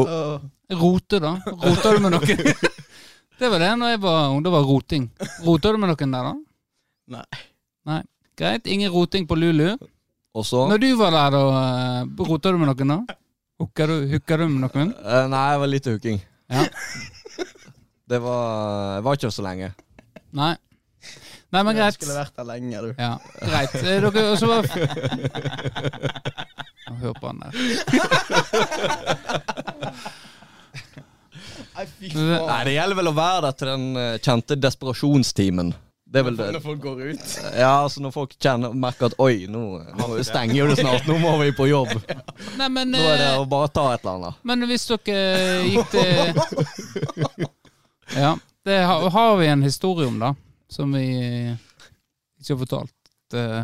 Speaker 4: Rote, da? Rota du med noen? Det var det når jeg var ung. Det var roting. Rota du med noen der, da?
Speaker 3: Nei.
Speaker 4: Nei. Greit. Ingen roting på Lulu.
Speaker 2: Og så
Speaker 4: Når du var der, da, eh, rota du med noen da? Hooka du, hooka du med noen?
Speaker 2: Eh, Nei, det var lite hooking.
Speaker 4: Ja.
Speaker 2: Det var Jeg var ikke så lenge.
Speaker 4: Nei. Nei, men
Speaker 3: Jeg
Speaker 4: greit.
Speaker 3: skulle vært der lenge, du.
Speaker 4: Ja, greit. Eh, Dere, og så var Nå Hør på han der.
Speaker 2: Nei, det gjelder vel å være der til den eh, kjente desperasjonstimen. Det er vel det.
Speaker 3: Når folk går ut.
Speaker 2: Ja, altså når folk kjenner, merker at oi, nå, nå stenger jo det snart, nå må vi på jobb. [LAUGHS]
Speaker 4: Nei, men,
Speaker 2: Nå er det
Speaker 4: eh,
Speaker 2: å bare ta et eller annet.
Speaker 4: men hvis dere gikk til Ja. Det har, har vi en historie om, da, som vi eh, ikke har fortalt. Eh,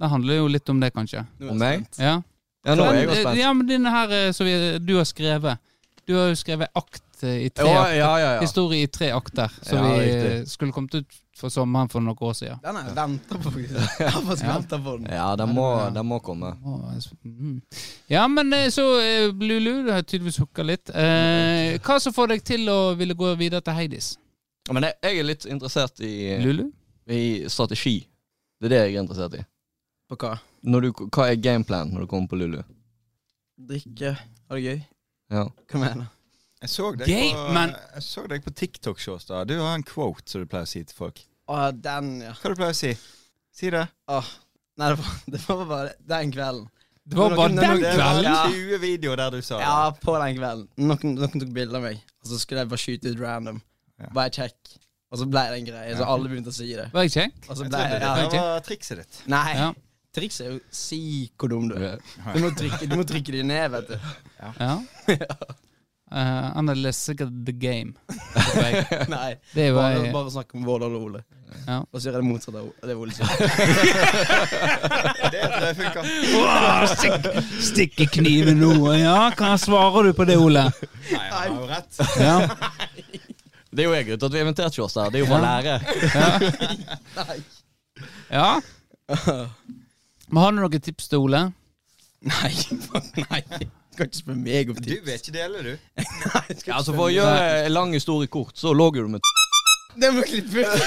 Speaker 4: Det handler jo litt om det, kanskje.
Speaker 2: Og
Speaker 3: Nå er jeg
Speaker 2: meg?
Speaker 3: spent.
Speaker 4: Ja.
Speaker 2: Ja, nå er jeg jo
Speaker 4: Men, eh,
Speaker 2: spent.
Speaker 4: Ja, men denne her eh, som vi, du har skrevet Du har jo skrevet akt eh, i tre
Speaker 2: Ja,
Speaker 4: akter.
Speaker 2: ja, ja. ja.
Speaker 4: Historie i tre akter, som
Speaker 2: Ja,
Speaker 4: vi eh,
Speaker 2: riktig.
Speaker 4: skulle kommet ut for sommeren for noen år siden.
Speaker 3: Den har jeg venta på, faktisk. Jeg har faktisk
Speaker 4: Ja.
Speaker 3: ventet på den.
Speaker 2: Ja, den må, den må komme.
Speaker 4: Å, jeg s- mm. Ja, men eh, så eh, Lulu, du har tydeligvis hooka litt.
Speaker 2: Mm.
Speaker 4: Eh, hva som får deg til å ville gå videre til Heidis?
Speaker 2: Men jeg, jeg er litt interessert i,
Speaker 4: Lulu?
Speaker 2: i strategi. Det er det jeg er interessert i.
Speaker 3: På hva?
Speaker 2: Når du, hva er gameplan når du kommer på Lulu?
Speaker 3: Drikke, ha det gøy.
Speaker 2: Ja.
Speaker 3: Hva mener du?
Speaker 6: Jeg så deg
Speaker 4: Gøy,
Speaker 6: på,
Speaker 4: men-
Speaker 6: jeg så deg på TikTok, Sjåstad. Du har en quote som du pleier å si til folk.
Speaker 3: Å, den, ja.
Speaker 6: Hva du pleier å si? Si det.
Speaker 3: Nei, det var, [LAUGHS] det var bare den kvelden.
Speaker 4: Det var
Speaker 3: Når
Speaker 4: bare
Speaker 3: noen-
Speaker 4: den
Speaker 3: når noen-
Speaker 6: Det var
Speaker 4: kvelden?
Speaker 3: Ja.
Speaker 6: 20 videoer der du sa det.
Speaker 3: Ja, på den kvelden. Noen, noen tok bilder av meg, og så skulle jeg bare skyte ut random.
Speaker 6: Ja.
Speaker 3: Bare kjekk. Og så ble det en greie, så alle begynte å si det.
Speaker 4: Var jeg kjekk?
Speaker 3: Og så
Speaker 6: Jeg
Speaker 3: ble
Speaker 6: trodde
Speaker 3: det,
Speaker 6: det
Speaker 3: ja.
Speaker 6: der var trikset ditt.
Speaker 3: Nei.
Speaker 4: Ja.
Speaker 3: Trikset er jo si hvor dum du er. Du må trykke, du må trykke de ned,
Speaker 6: [LAUGHS]
Speaker 3: vet du.
Speaker 4: Ja. Uh, Analyse the game.
Speaker 3: Nei.
Speaker 4: Det var
Speaker 3: Bare, bare snakk om Vårdal og Ole.
Speaker 4: Ja.
Speaker 3: Og så gjør jeg det motsatte av det Ole
Speaker 4: [LAUGHS]
Speaker 3: sier.
Speaker 6: Det tror jeg funker.
Speaker 4: Åh, stikk, Stikke kniven nå. Ja, hva svarer du på det, Ole?
Speaker 6: [LAUGHS] Nei, han har jo rett.
Speaker 4: Ja.
Speaker 2: Det er jo jeg grunnen til at vi inviterte oss her. Det er jo for å lære.
Speaker 4: ja. Men har du noen tips til Ole?
Speaker 3: Nei, [LAUGHS] fuck, nei. Du kan ikke spørre meg om
Speaker 6: Du
Speaker 3: tips.
Speaker 6: vil ikke dele, du.
Speaker 3: Nei, skal
Speaker 2: Ja, altså For å gjøre en lang historie kort, så lå jo du med
Speaker 3: Det må klippe ut.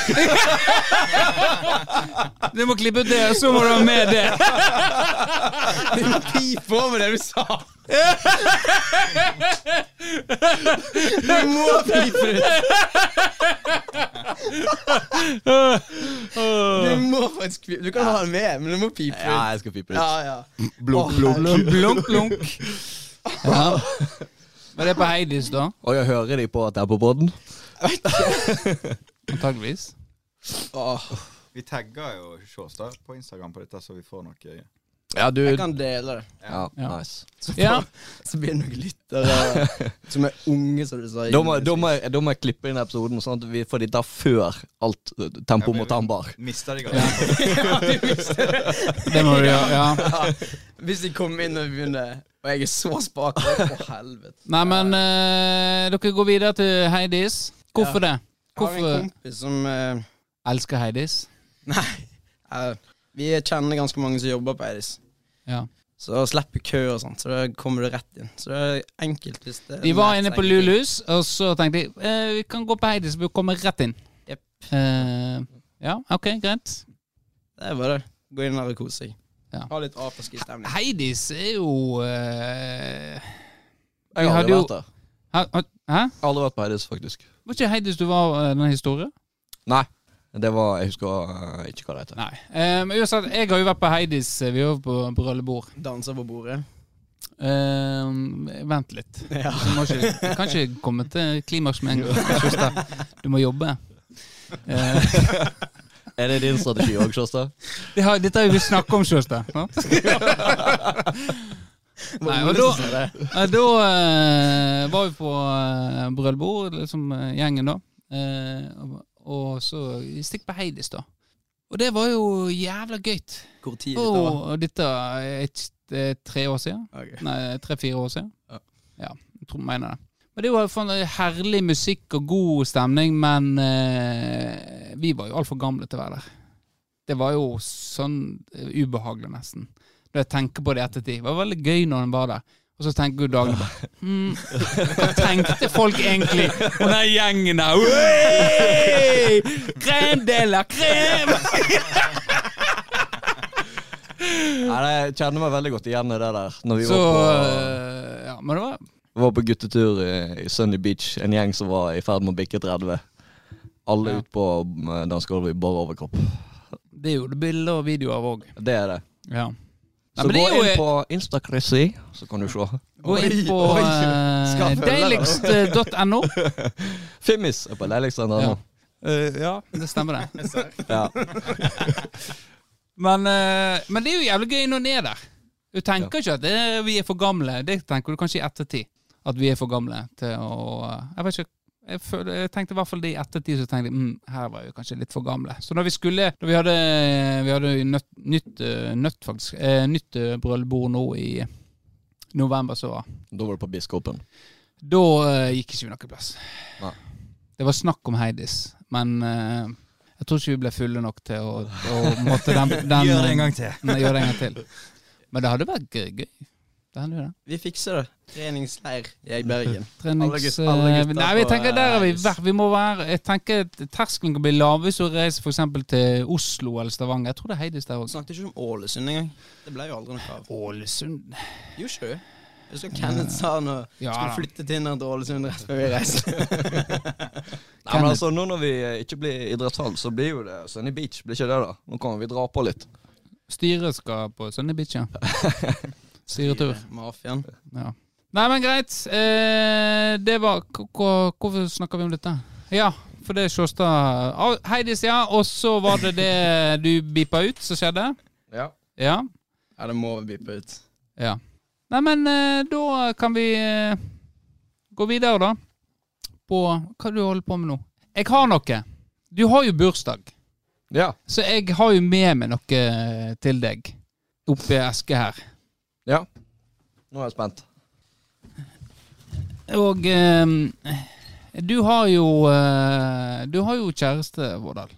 Speaker 4: Du må klippe ut det, og så må du ha med det.
Speaker 3: Du må pipe over det du sa. Du må pipe ut. Du må faktisk pipe. Du kan ha den med, men du må pipe
Speaker 2: Ja,
Speaker 3: ut.
Speaker 2: jeg skal pipe
Speaker 3: Ja,
Speaker 2: litt.
Speaker 3: ja.
Speaker 2: Blunk,
Speaker 3: Å,
Speaker 2: blunk.
Speaker 4: Blunk, blunk, blunk. Ja. Var det på Heidis, da?
Speaker 2: Og jeg hører de på at jeg er på podden.
Speaker 4: Antageligvis.
Speaker 3: Åh,
Speaker 6: Vi tagger jo Sjåstad på Instagram på dette, så vi får eh, noe
Speaker 2: Ja, du
Speaker 3: jeg kan dele det.
Speaker 2: Ja,
Speaker 4: Ja.
Speaker 2: nice.
Speaker 4: Ja.
Speaker 3: Så blir det noen lyttere som er unge, som du sa.
Speaker 2: Da må, da, må jeg, da må jeg klippe inn episoden, sånn at vi får de der før alt eh, tempo mot tambar.
Speaker 6: Mista de ganske.
Speaker 4: Det må du gjøre. Ja.
Speaker 3: Hvis de kommer inn og begynner, og jeg er så spak, å helvete.
Speaker 4: Nei, men eh, dere går videre til Heidis. Hvorfor det?
Speaker 3: Jeg har en
Speaker 4: Hvorfor
Speaker 3: kompis som... eh,
Speaker 4: elsker Heidis?
Speaker 3: Nei. eh, vi kjenner ganske mange som jobber på Eiris.
Speaker 4: Ja.
Speaker 3: Så slipper kø og sånt, så da kommer du rett inn. Så det er enkelt hvis det
Speaker 4: De var inne på
Speaker 3: enkelt.
Speaker 4: Lulus, og så tenkte de eh, vi kan gå på Heidis, vi kommer rett inn.
Speaker 3: Jep.
Speaker 4: Eh, ja, OK, greit.
Speaker 3: Det er bare det. Gå inn der og kose seg.
Speaker 4: Ja.
Speaker 3: Ha litt afterski-stemning.
Speaker 4: Heidis er jo eh,
Speaker 2: Jeg har
Speaker 4: hadde
Speaker 2: aldri
Speaker 4: jo-
Speaker 2: vært der.
Speaker 4: Hæ? Hæ?
Speaker 2: Aldri vært på Heidis, faktisk.
Speaker 4: Var ikke Heidis du var eh, den historien?
Speaker 2: Nei. Det var Jeg husker eh, ikke hva det heter.
Speaker 4: Nei. Eh, men uansett, jeg har jo vært på Heidis. eh, Vi var på på rullebord.
Speaker 3: Danser på bordet.
Speaker 4: Eh, vent litt.
Speaker 3: Ja.
Speaker 4: Du må ikke, du kan ikke komme til klimaks med en gang. Sjåstad. Du må jobbe. Eh,
Speaker 2: Er det din strategi òg, Sjåstad?
Speaker 4: det har, dette har vi snakket om, Sjåstad. Nei, og da, eh, da eh, var vi på eh, brølbord, liksom eh, gjengen, da. Eh, og, og så stikk på Heidis, da. Og det var jo jævla gøy.
Speaker 3: Hvor tid dette var?
Speaker 4: Og dette er et, det er tre år siden.
Speaker 3: Ok.
Speaker 4: Nei, tre-fire år siden.
Speaker 3: Ja.
Speaker 4: Ja, jeg tror jeg mener det. Men det var faen herlig musikk og god stemning, men eh, vi var jo altfor gamle til å være der. Det var jo sånn eh, ubehagelig, nesten. Når jeg tenker på det i ettertid. Det var veldig gøy når den var der. Og så tenker du dagen bare hmm, Hva tenkte folk egentlig om den gjengen der? Ui! Krem de la krem!
Speaker 2: Nei, [LAUGHS] nei, Jeg kjenner meg veldig godt igjen i det der. Når vi
Speaker 4: Så
Speaker 2: var på
Speaker 4: eh, Ja, men det var
Speaker 2: var på guttetur i, i Sunny Beach, en gjeng som var i ferd med å bikke 30. Alle
Speaker 4: Ja.
Speaker 2: ut på eh, dansegulvet i bare overkropp.
Speaker 4: Det er jo det bilder og videoer av òg.
Speaker 2: Det er det.
Speaker 4: Ja. Nei,
Speaker 2: Så
Speaker 4: men det
Speaker 2: gå
Speaker 4: er jo-
Speaker 2: inn på Instacrisi, så kan du se.
Speaker 4: Gå inn på
Speaker 3: Oi, oi.
Speaker 4: eh,
Speaker 3: Skal følge
Speaker 4: [LAUGHS] deiligst.no.
Speaker 2: Fimmis er på leilighetssender
Speaker 4: Ja.
Speaker 2: nå.
Speaker 4: Eh, ja, det stemmer det.
Speaker 2: Ja.
Speaker 4: [LAUGHS] Men, eh, men det er jo jævlig gøy når en er der. Du tenker ikke at det, er- vi er for gamle. Det tenker du kanskje i ettertid. At vi er for gamle til å eh, Jeg vet ikke. Jeg, føler, jeg tenkte i hvert fall det i ettertid, så tenkte jeg mm, her var vi kanskje litt for gamle. Så når vi skulle Når vi hadde, vi hadde nøtt, nytt, eh, nøtt, faktisk, eh, nytt eh, brøllbord nå i november, så var
Speaker 2: Da var det på Biskopen.
Speaker 4: Da eh, gikk ikke vi noen plass.
Speaker 2: Nei.
Speaker 4: Det var snakk om Heidis, men eh, jeg tror ikke vi ble fulle nok til å, å måtte den,
Speaker 3: [LAUGHS]
Speaker 4: den
Speaker 6: Gjør det
Speaker 4: [LAUGHS]
Speaker 6: en gang til.
Speaker 4: Nei, gjør det en gang til. Men det hadde vært gøy. gøy. Det hadde jo det.
Speaker 3: Vi fikser det. Treningsleir i Bergen.
Speaker 4: Trenings...
Speaker 3: Alle gutt- alle
Speaker 4: eh,
Speaker 3: gutter
Speaker 4: nei, jeg
Speaker 3: på,
Speaker 4: tenker der har vi
Speaker 3: eh,
Speaker 4: vært. Vi må være Jeg tenker at terskelen kan bli lav hvis du reiser for eksempel til Oslo eller Stavanger. Jeg tror det er Heidis der
Speaker 3: Vi
Speaker 4: også.
Speaker 3: snakket ikke om Ålesund engang. Det ble jo aldri noe av.
Speaker 4: Ålesund
Speaker 3: Jo, ikke du? Husker du Kenneth sa nå
Speaker 4: Ja
Speaker 3: skulle
Speaker 4: da.
Speaker 3: flytte Tinder til Ålesund rett
Speaker 4: [LAUGHS]
Speaker 3: før vi reiste.
Speaker 2: Nei, men
Speaker 4: Kenneth.
Speaker 2: altså, nå når vi eh, ikke blir idrettshall, så blir jo det Sunny Beach. Blir ikke det, da? Nå kan vi dra på litt.
Speaker 4: Styret skal på Sunny Beach,
Speaker 3: [LAUGHS]
Speaker 4: ja. Styretur.
Speaker 3: Mafiaen.
Speaker 4: Ja. Nei, men greit. Eh, det var k- k- Hvorfor snakker vi om dette? Ja, for det er Sjåstad Au, Heidis, ja. Og så var det det du beepa ut, som skjedde?
Speaker 2: Ja.
Speaker 4: Ja.
Speaker 3: Ja, det må vi bippe ut.
Speaker 4: ja. Nei, men eh, da kan vi eh, gå videre, da. På Hva du holder på med nå? Jeg har noe. Du har jo bursdag,
Speaker 2: Ja.
Speaker 4: så jeg har jo med meg noe eh, til deg oppi eska her.
Speaker 2: ja. Nå er jeg spent.
Speaker 4: Og eh, du har jo eh, Du har jo kjæreste, Vårdal.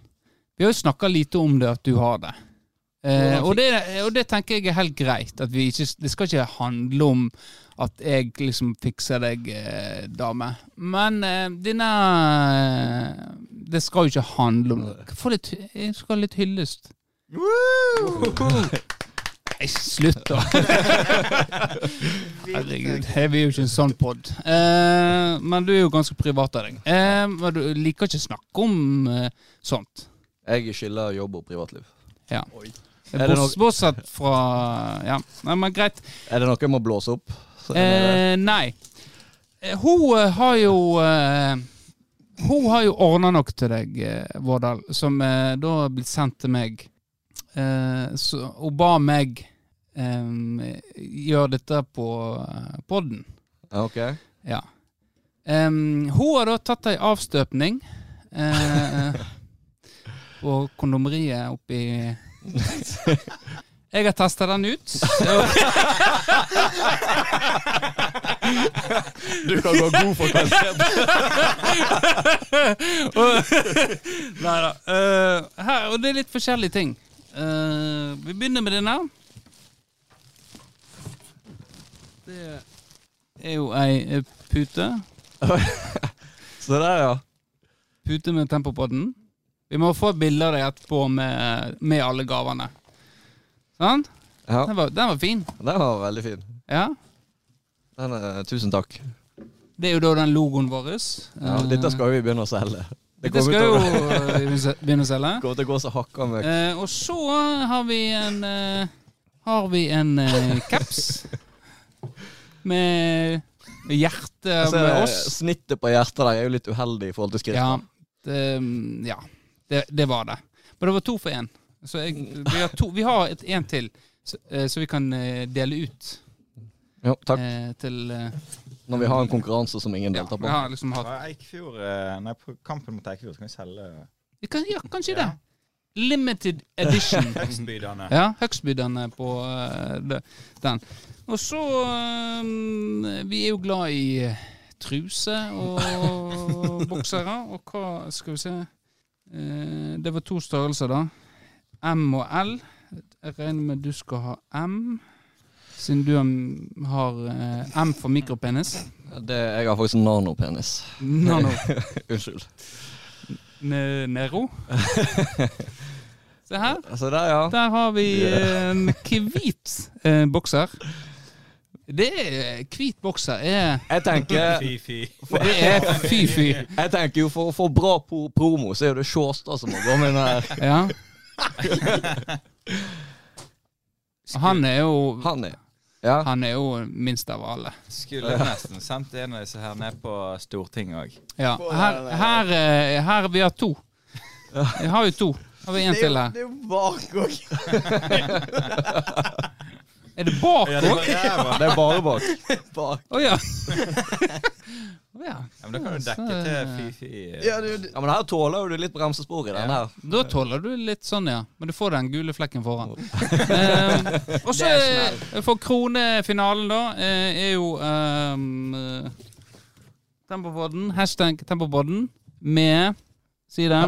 Speaker 4: Vi har jo snakka lite om det, at du har det. Eh, og, det og det tenker jeg er helt greit. At vi ikke, det skal ikke handle om at jeg liksom fikser deg, eh, dame. Men eh, denne Det skal jo ikke handle om det. Få litt, jeg skal ha litt hyllest. Nei, slutt,
Speaker 2: [LAUGHS]
Speaker 4: da. Herregud, her er jo ikke en sånn pod. Eh, men du er jo ganske privat av deg. Eh, men du liker ikke å snakke om eh, sånt.
Speaker 2: Jeg skiller jobb og privatliv. Er det
Speaker 4: Bors, bortsett fra Ja, Nei, men greit.
Speaker 2: Er det noe jeg må blåse opp? Så er det-
Speaker 4: Eh, nei. Eh, Hun eh, har jo eh, Hun har jo ordna noe til deg, eh, Vårdal, som eh, da er blitt sendt til meg. Eh, så hun ba meg eh, gjøre dette på eh, podden.
Speaker 2: Ja, ok.
Speaker 4: Ja. Ehm, hun har da tatt ei avstøpning eh, på kondomeriet oppi Jeg har testa den ut. Og,
Speaker 2: Du kan gå god for kvalitet.
Speaker 4: og, [LAUGHS] nei da. eh, her, og det er litt forskjellige ting. Eh, vi begynner med denne. Det er jo ei eh, pute.
Speaker 2: [LAUGHS] Så der, ja.
Speaker 4: Pute med Tempopodden. Vi må få et bilde av deg etterpå med, med alle gavene. Sant?
Speaker 2: ja.
Speaker 4: Den var, den var fin.
Speaker 2: Den var veldig fin.
Speaker 4: Ja.
Speaker 2: Den er, tusen takk.
Speaker 4: Det er jo da den logoen vår.
Speaker 2: Ja,
Speaker 4: Eh,
Speaker 2: dette skal vi begynne å selge. Det
Speaker 4: dette
Speaker 2: kommer til,
Speaker 4: skal jo
Speaker 2: å-
Speaker 4: eh, vi se- begynne å selge.
Speaker 2: [LAUGHS] kommer til å gå så hakka med
Speaker 4: Eh, og så har vi en eh, Har vi en eh, caps. med hjertet
Speaker 2: Altså,
Speaker 4: med oss.
Speaker 2: Snittet på hjertet der er jo litt uheldig i forhold til skriften.
Speaker 4: Ja, det, mm, ja. det, det var det. Men det var to for én. Så jeg, vi har, to, vi har et én til, så, eh, så vi kan eh, dele ut
Speaker 2: Jo, takk.
Speaker 4: eh, til eh,
Speaker 2: Når vi har en konkurranse som ingen
Speaker 4: Ja,
Speaker 2: deltar
Speaker 4: vi
Speaker 2: på.
Speaker 4: har liksom hatt
Speaker 6: Ja, Eikfjord eh, Nei, på kampen mot Eikfjord så kan vi selge
Speaker 4: vi kan, Ja, kanskje
Speaker 6: Ja.
Speaker 4: det. Limited edition.
Speaker 6: Høgstbydene.
Speaker 4: Ja, høgstbydende på eh, det- den. Og så eh, Vi er jo glad i truse og boksere, og hva Skal vi se Eh, Det var to størrelser, da. M og L. Jeg regner med du skal ha M, siden du har- har eh, M for mikropenis.
Speaker 2: Det, jeg har faktisk nanopenis. [LAUGHS]
Speaker 4: Nano
Speaker 2: Unnskyld.
Speaker 4: ne Nero. Se her.
Speaker 2: Altså, der, ja.
Speaker 4: Der har vi en hvit eh, bokser. Det er Hvit bokser er
Speaker 2: Jeg tenker,
Speaker 6: Fy-fy.
Speaker 4: Det er fy-fy.
Speaker 2: jeg tenker jo for å få bra po promo, så er det Sjåstad som må gå med den her.
Speaker 4: Ja. Han er jo
Speaker 2: Han er Ja.
Speaker 4: Han er jo minst av alle.
Speaker 6: Skulle nesten sendt en av disse her ned på Stortinget òg.
Speaker 4: Ja. Her, her, eh, her vi har to. Jeg har jo to. Har vi en til her?
Speaker 3: Det er jo bak òg.
Speaker 4: Er det bak òg?
Speaker 2: Det er bare [LAUGHS] bak.
Speaker 4: Å ja. [LAUGHS] Å ja.
Speaker 6: Ja, men da kan du dekke til eh, Fifi.
Speaker 3: Ja, det er jo det.
Speaker 2: Ja, men her tåler jo du litt bremsespor i den her.
Speaker 4: Da tåler du litt sånn, ja. Men du får den gule flekken foran. Eh, og så eh, for kronefinalen, da, eh, er jo um, Tempobodden. Hashtag Tempobodden med Si det.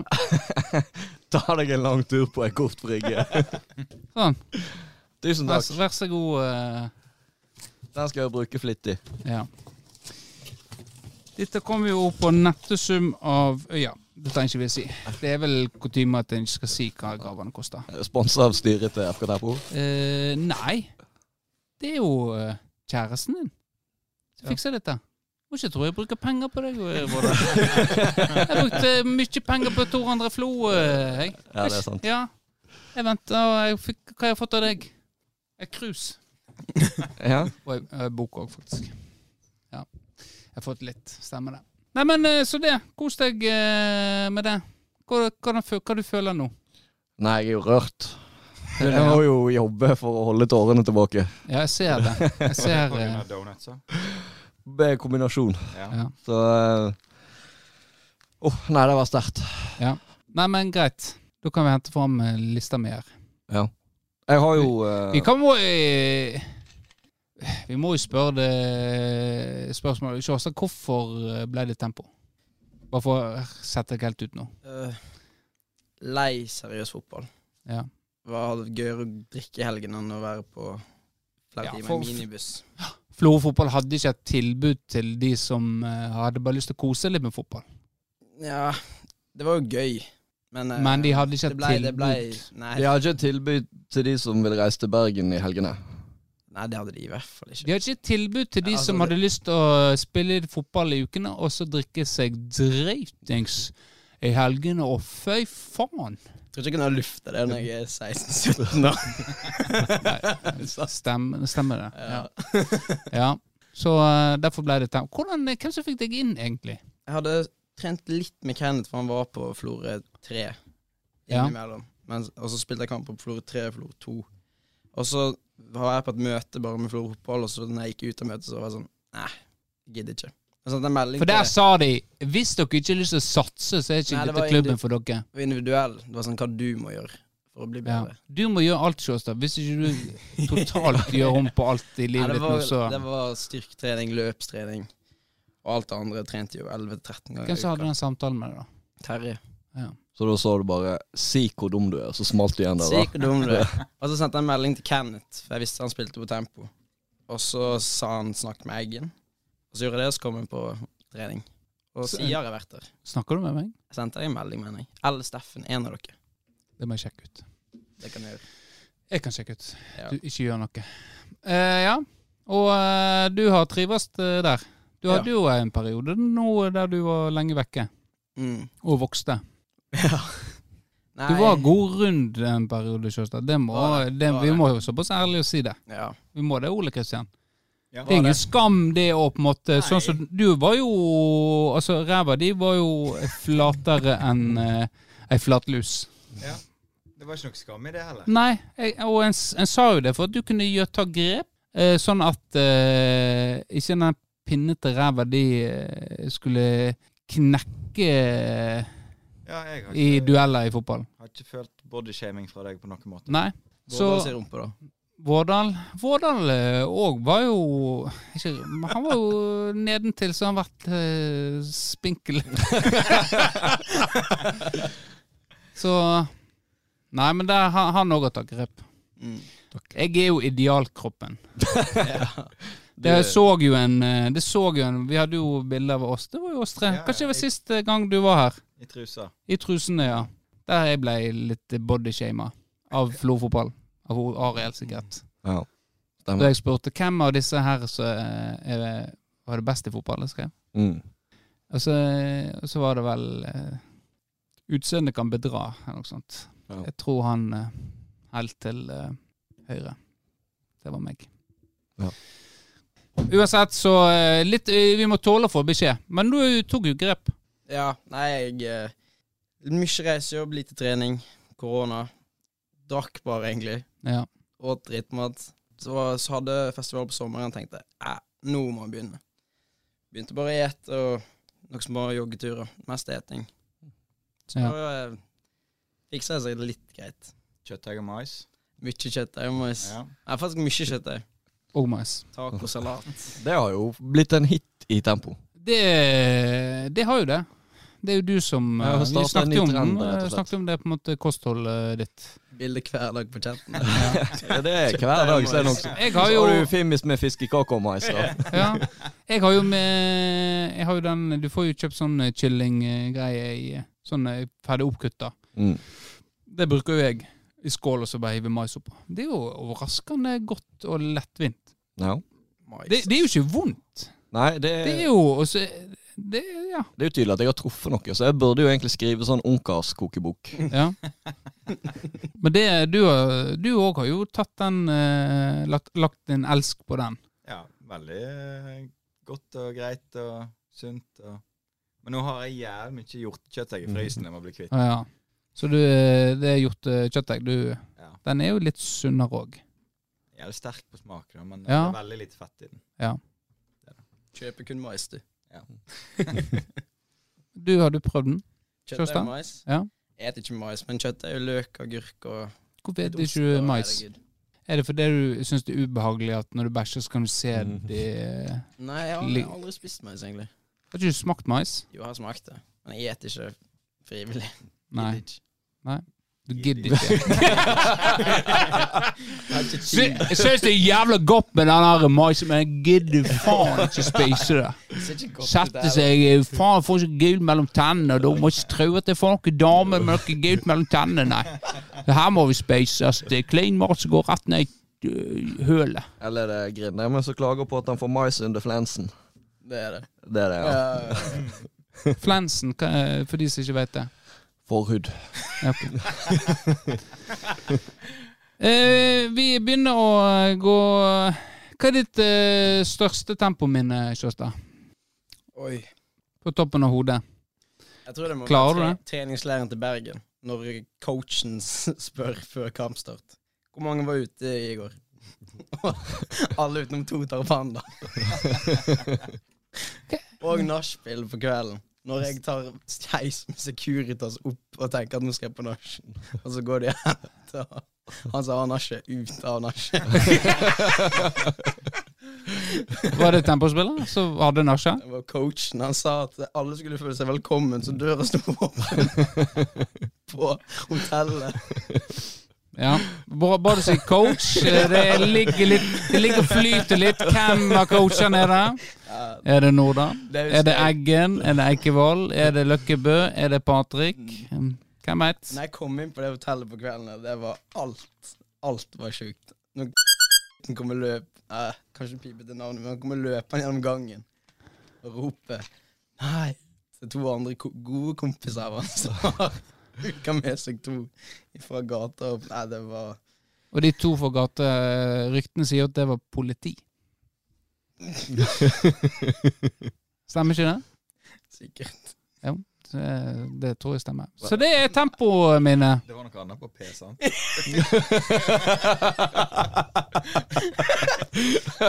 Speaker 2: Ta deg en lang tur på ei koftbrygge. [LAUGHS]
Speaker 4: Sånn.
Speaker 2: Tusen
Speaker 4: Vær,
Speaker 2: takk.
Speaker 4: vær så god. eh,
Speaker 2: Den skal jeg bruke flittig.
Speaker 4: Ja. Dette kommer jo opp på nettesum av øya. Det trenger ikke vi si. Det er vel kutyme at en ikke skal si hva gravene koster.
Speaker 2: Sponsa av styret til FK Terpo.
Speaker 4: Eh, nei. Det er jo eh, kjæresten din som fikser dette. Må ikke tro jeg bruker penger på
Speaker 2: [LAUGHS]
Speaker 4: deg. eh, Vårdal. Jeg brukte mye penger på Tor André Flo. eh, Jeg.
Speaker 2: Ja, det er sant.
Speaker 4: Ja. Jeg venta, og jeg fikk, hva har jeg fått av deg? Et krus.
Speaker 2: Ja.
Speaker 4: Og ei- ei bok òg, faktisk. Ja. Jeg har fått litt. Stemmer det. Nei, men eh, så det. Kos deg eh, med det. Hva, hva, den fø- hva du føler nå?
Speaker 2: Nei, jeg er jo rørt. Jeg må jo jobbe for å holde tårene tilbake.
Speaker 4: Ja, jeg ser det. Jeg ser eh,
Speaker 6: Donuts, da?
Speaker 2: Det er kombinasjon.
Speaker 6: Ja.
Speaker 4: Ja.
Speaker 2: Så eh, Åh, nei, det var sterkt.
Speaker 4: Nei, men greit. Da kan vi hente fram eh, lista mi her.
Speaker 2: Jeg har jo eh,
Speaker 4: Vi kan må eh, Vi må jo spørre det spørsmålet Sjåstad, hvorfor eh, ble det tempo? Bare for å sette det helt ut nå.
Speaker 3: Eh, lei seriøs fotball.
Speaker 4: Ja.
Speaker 3: Hva hadde vært gøyere å drikke i helgen enn å være på flere
Speaker 4: Ja,
Speaker 3: timer
Speaker 4: for-
Speaker 3: i minibuss?
Speaker 4: Florø fotball hadde ikke et tilbud til de som eh, hadde bare lyst til å kose litt med fotball.
Speaker 3: Ja, det var jo gøy, men eh,
Speaker 4: Men de hadde ikke
Speaker 3: det
Speaker 4: et
Speaker 3: ble, det ble,
Speaker 4: tilbud.
Speaker 3: nei,
Speaker 2: De har ikke et tilbud til de som vil reise til Bergen i helgene.
Speaker 3: nei, det hadde de i hvert fall
Speaker 4: De
Speaker 3: ikke.
Speaker 4: hadde ikke et tilbud til de
Speaker 3: Ja, altså,
Speaker 4: som
Speaker 3: det-
Speaker 4: hadde lyst til å spille litt fotball i ukene, og så drikke seg dritings i helgene, og føy faen!
Speaker 3: Jeg tror ikke jeg kunne ha lufta det når jeg er 16-17 år.
Speaker 4: [LAUGHS]
Speaker 3: [LAUGHS]
Speaker 4: Stem, stemmer det.
Speaker 3: Ja.
Speaker 4: Ja. Så eh, derfor ble det tempo. Hvordan, eh, hvem som fikk deg inn, egentlig?
Speaker 3: Jeg hadde trent litt med Kenneth, for han var på Florø 3
Speaker 4: Ja.
Speaker 3: innimellom. Men, og så spilte jeg kamp på Florø 3 og Florø 2. Og så var jeg på et møte bare med Florø fotball, og så når jeg gikk ut av møtet, så var jeg sånn Nei, gidder ikke. Jeg sendte en melding
Speaker 4: For der
Speaker 3: til
Speaker 4: sa de hvis dere ikke har lyst til å satse, så er ikke
Speaker 3: Nei, det
Speaker 4: dette
Speaker 3: var
Speaker 4: klubben
Speaker 3: indi-
Speaker 4: for dere.
Speaker 3: det var individuell. Det var sånn hva du må gjøre for å bli
Speaker 4: Ja.
Speaker 3: bedre.
Speaker 4: Du må gjøre alt, Sjåstad. Hvis ikke du
Speaker 3: [LAUGHS]
Speaker 4: totalt gjør om på alt i
Speaker 3: Nei,
Speaker 4: livet
Speaker 3: det,
Speaker 4: ditt nå,
Speaker 3: var,
Speaker 4: så
Speaker 3: det var styrketrening, løpstrening og alt det andre. Jeg trente jo 11-13 ganger. i
Speaker 4: Hvem som hadde
Speaker 3: uka.
Speaker 4: den samtalen med deg, da?
Speaker 3: Terje.
Speaker 2: Så da så du bare 'si hvor dum du er', og så smalt det igjen der. da.
Speaker 3: Sykt dum du er. Og så sendte jeg en melding til Kenneth, for jeg visste han spilte på tempo. Og så sa han 'snakk med Eggen'. Og så gjorde jeg det, og så kom han på trening. Og
Speaker 4: Så-
Speaker 3: siden har jeg vært der.
Speaker 4: Snakker du med meg?
Speaker 3: Jeg sendte deg en melding, mener jeg. Eller Steffen, en av dere.
Speaker 4: Det må jeg sjekke ut.
Speaker 3: Det kan jeg gjøre.
Speaker 4: Jeg kan sjekke ut.
Speaker 3: Ja.
Speaker 4: Du ikke gjør noe. Eh, ja. Og eh, du har trives eh, der. Du
Speaker 3: Ja.
Speaker 4: hadde jo en periode nå der du var lenge vekke
Speaker 3: Mm.
Speaker 4: og vokste.
Speaker 3: Nei,
Speaker 4: Du var god rund en periode, Sjøstad. Det må,
Speaker 3: Var
Speaker 4: det,
Speaker 3: var
Speaker 4: vi
Speaker 3: det.
Speaker 4: må jo såpass ærlig å si det.
Speaker 3: Ja.
Speaker 4: Vi må det, Ole Kristian.
Speaker 6: Ja.
Speaker 4: Det er ingen skam, det å på en måte
Speaker 6: Nei.
Speaker 4: Sånn som du var jo Altså, ræva di var jo flatere enn eh, ei flatlus.
Speaker 6: Ja. Det var ikke noe skam i det heller.
Speaker 4: Nei, jeg, og en, s- en sa jo det for at du kunne gjøre, ta grep, eh, sånn at eh, ikke den pinnete ræva di eh, skulle knekke
Speaker 6: Ja, jeg har
Speaker 4: i
Speaker 6: ikke,
Speaker 4: dueller i fotball.
Speaker 6: har ikke følt bodyshaming fra deg på noen måte.
Speaker 4: Nei. Så
Speaker 3: Vårdal sier rumpe, da.
Speaker 4: Vårdal Vårdal òg var jo ikke, Han var jo nedentil, så han har vært eh, spinkel. [LAUGHS] så Nei, men der, han- han òg har tatt grep.
Speaker 3: Mm.
Speaker 4: Jeg er jo idealkroppen. Det så jo en eh, Det så jo en Vi hadde jo bilder av oss. Det var jo oss tre.
Speaker 6: Ja, ja,
Speaker 4: Kanskje det var
Speaker 6: jeg-
Speaker 4: siste gang du var her.
Speaker 6: I trusa.
Speaker 4: I trusene, ja. Der jeg ble litt bodyshama av Flo fotball. Av hun Ariel, sikkert.
Speaker 2: Ja.
Speaker 4: Da
Speaker 2: Stemmer.
Speaker 4: jeg spurte hvem av disse her som eh, er- var det best i fotball, jeg skrev.
Speaker 2: Mm.
Speaker 4: Og så, og så var det vel eh, Utseendet kan bedra, eller noe sånt.
Speaker 2: Ja.
Speaker 4: Jeg tror han eh, helt til eh, høyre. Det var meg.
Speaker 2: Ja.
Speaker 4: Uansett, så eh, litt eh, Vi må tåle å få beskjed. Men du tok jo grep.
Speaker 3: Ja, nei, jeg eh, Mye reisejobb, lite trening, korona. Drakk bare, egentlig.
Speaker 4: Ja.
Speaker 3: Åt drittmat. Så, var- så hadde festival på sommeren, tenkte jeg "Eh, nå må jeg begynne. Begynte bare å ete og noe som bare joggeturer. Mest eting. Så
Speaker 4: Ja.
Speaker 3: eh, fiksa det seg litt greit.
Speaker 6: Kjøttdeig og mais.
Speaker 3: Mye kjøttdeig og mais.
Speaker 6: Ja.
Speaker 3: Nei, faktisk mye kjøttdeig.
Speaker 4: Og mais.
Speaker 3: Tacosalat.
Speaker 2: Det har jo blitt en hit i tempo.
Speaker 4: Det, det har jo det. Det er jo du som
Speaker 2: Ja,
Speaker 4: eh,
Speaker 2: og startet en
Speaker 4: Vi
Speaker 2: ny
Speaker 4: snakket jo om,
Speaker 2: trend, rett og
Speaker 4: eh, snakket om det på en måte kostholdet ditt.
Speaker 2: [LAUGHS]
Speaker 3: Bilde hver dag på chatten.
Speaker 2: Ja, det er [LAUGHS] hver dag, så er det nok sånn.
Speaker 4: Jeg
Speaker 2: [LAUGHS] Så
Speaker 4: har jo
Speaker 2: har du Fimmis med fiskekake og mais. da.
Speaker 4: Ja. Jeg har jo med Jeg har jo den Du får jo kjøpt sånn eh, kyllinggreie i eh, Sånn eh, ferdig oppkutta.
Speaker 2: Mm.
Speaker 4: Det bruker jo jeg i skål, og så bare hive mais oppå. Det er jo overraskende godt og lettvint.
Speaker 2: Ja.
Speaker 4: Det, det er jo ikke vondt.
Speaker 2: Nei, det,
Speaker 4: Det er
Speaker 2: det
Speaker 4: jo også, det, ja.
Speaker 2: er jo tydelig at jeg har truffet noe, så jeg burde jo egentlig skrive sånn ungkarskokebok.
Speaker 4: ja.
Speaker 2: [LAUGHS]
Speaker 4: Men det, du har- du òg har jo tatt den eh, lagt, lagt en elsk på den.
Speaker 6: Ja, veldig eh, godt og greit og sunt. Og... Men nå har jeg jævlig mye hjortekjøttdeig i frysen jeg må bli kvitt.
Speaker 4: Ja, ja. Så du, det er gjort eh, kjøttdeig. Du,
Speaker 6: Ja.
Speaker 4: den er jo litt sunnere òg.
Speaker 6: Jævlig sterk på smak, da, men det
Speaker 4: Ja.
Speaker 6: er veldig lite fett i den.
Speaker 3: Kjøper kun mais, du.
Speaker 4: Du, har du prøvd den?
Speaker 3: Kjøttdeig
Speaker 4: Kjøttdeig?
Speaker 3: og mais.
Speaker 4: Ja.
Speaker 3: Jeg Eter ikke mais, men kjøttdeig, og løk, agurk og
Speaker 4: Hvorfor
Speaker 3: litt
Speaker 4: spiser
Speaker 3: ost
Speaker 4: ikke
Speaker 3: og-
Speaker 4: du mais?
Speaker 3: herregud.
Speaker 4: Er det fordi du syns det er ubehagelig at når du bæsjer, så kan du se
Speaker 2: Mm.
Speaker 4: det
Speaker 3: Nei, jeg har
Speaker 4: Li-
Speaker 3: aldri spist mais, egentlig.
Speaker 4: Har ikke du smakt mais?
Speaker 3: Jo, jeg har smakt det, men jeg eter ikke frivillig.
Speaker 4: Nei.
Speaker 3: Gidder ikke.
Speaker 4: Du gidder ikke.
Speaker 3: Jeg har ikke
Speaker 4: Sy-
Speaker 3: tid.
Speaker 4: Jeg syns det er jævla godt med den her maisen, men jeg gidder faen ikke spise det.
Speaker 3: Det ser ikke godt ut, det
Speaker 4: Sette
Speaker 3: her.
Speaker 4: seg eh, Faen, får ikke gult mellom tennene, og da må ikke tro at det er noen damer med noe gult mellom tennene, nei. Det her må vi spise. Altså, det er klein mat som går rett ned i eh, hølet.
Speaker 2: Eller eh, er det grinderen som klager på at han får mais under flensen?
Speaker 3: Det er det.
Speaker 2: Det er det, ja.
Speaker 3: Ja.
Speaker 4: Flensen, hva er- for de som ikke vet det.
Speaker 2: Forhud.
Speaker 4: Ja, ok. eh, vi begynner å gå Hva er ditt eh, største tempominne, Kjøstad?
Speaker 3: Oi.
Speaker 4: På toppen av hodet?
Speaker 3: Jeg tror det må
Speaker 4: Klarer du
Speaker 3: være
Speaker 4: det?
Speaker 3: treningslæren til Bergen, når coachen s- spør før kampstart. Hvor mange var ute i går? [LAUGHS] Alle utenom to tar panda. Og nachspiel på kvelden. Når jeg tar heis med Securitas opp og tenker at nå skal jeg på nach, og så går de og henter han som har nachet, ut av nachet.
Speaker 4: Var det tempospiller som hadde nasja?
Speaker 3: Det var coachen. Han sa at alle skulle føle seg velkommen, så døra sto åpen på hotellet.
Speaker 4: Ja. Bra bra du sier coach. Eh, Det ligger litt Det ligger og flyter litt. Hvem av coachene er det?
Speaker 3: Ja,
Speaker 4: Er det Norda?
Speaker 3: er jo
Speaker 4: Er det
Speaker 3: steik.
Speaker 4: Eggen? Er det Eikevold? Er det Løkkebø? Er det Patrick? Hvem veit?
Speaker 3: Når jeg kom inn på det hotellet på kvelden, det var alt. Alt var sjukt. Når han kommer løp eh, Kanskje pipet til navnet, men han kommer løpende gjennom gangen og roper Nei! Det er to andre ko gode kompiser av hans som har hooka med seg to fra gata opp. Nei, det var
Speaker 4: eh, Og de to fra gateryktene sier at det var politi. Stemmer ikke det?
Speaker 3: Sikkert.
Speaker 4: Det, det tror jeg stemmer. Så det er tempoet mine.
Speaker 6: Det var noe annet på P, sant?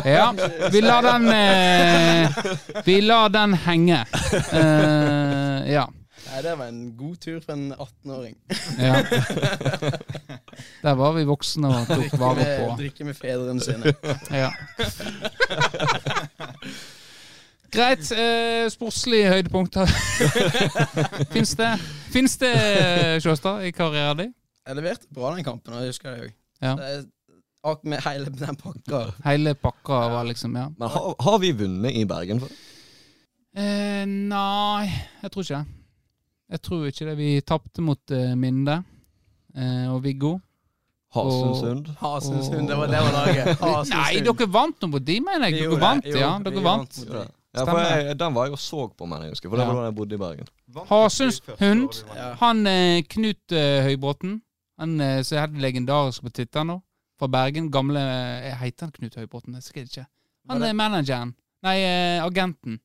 Speaker 4: Ja, vi lar den eh, Vi lar den henge. Eh, ja.
Speaker 3: Nei, det var en god tur for en 18-åring.
Speaker 4: ja. Der var vi voksne og tok vare
Speaker 3: Med-
Speaker 4: på.
Speaker 3: Drikke med fedrene
Speaker 4: [LAUGHS]
Speaker 3: sine.
Speaker 4: Ja. Greit. Eh, sportslige høydepunkter. [LAUGHS] Fins det, Finnes det eh, Sjåstad, i karrieren din?
Speaker 3: Jeg leverte bra den kampen, og jeg husker det òg.
Speaker 4: Ja.
Speaker 3: Ak med hele den pakka.
Speaker 4: Hele pakka var liksom Ja.
Speaker 2: Men har, har vi vunnet i Bergen? før?
Speaker 4: Eh, nei, jeg tror ikke det. Jeg tror ikke det. Vi tapte mot eh, Minde eh, og Viggo.
Speaker 2: Hasundsund?
Speaker 3: Hasensund, det var det var [LAUGHS] laget.
Speaker 4: Nei,
Speaker 3: Hasensund.
Speaker 4: dere vant nå mot de, mener
Speaker 3: Vi
Speaker 4: jeg. Dere
Speaker 3: gjorde
Speaker 4: vant,
Speaker 3: det. Jo,
Speaker 4: ja.
Speaker 3: vi
Speaker 4: Dere vant.
Speaker 3: mot
Speaker 2: Ja,
Speaker 3: dem.
Speaker 2: for
Speaker 4: Stemmer.
Speaker 2: jeg, den var jeg og så på, mener jeg husker. For det
Speaker 4: Ja.
Speaker 2: var da jeg bodde i Bergen.
Speaker 4: Hasundshund.
Speaker 3: Ja.
Speaker 4: Han eh, Knut eh, Høybråten, han eh, som er helt legendarisk på Twitter nå, fra Bergen. Gamle eh, Heter han Knut Høybråten? Jeg husker ikke. Han er manageren. Nei, eh, agenten.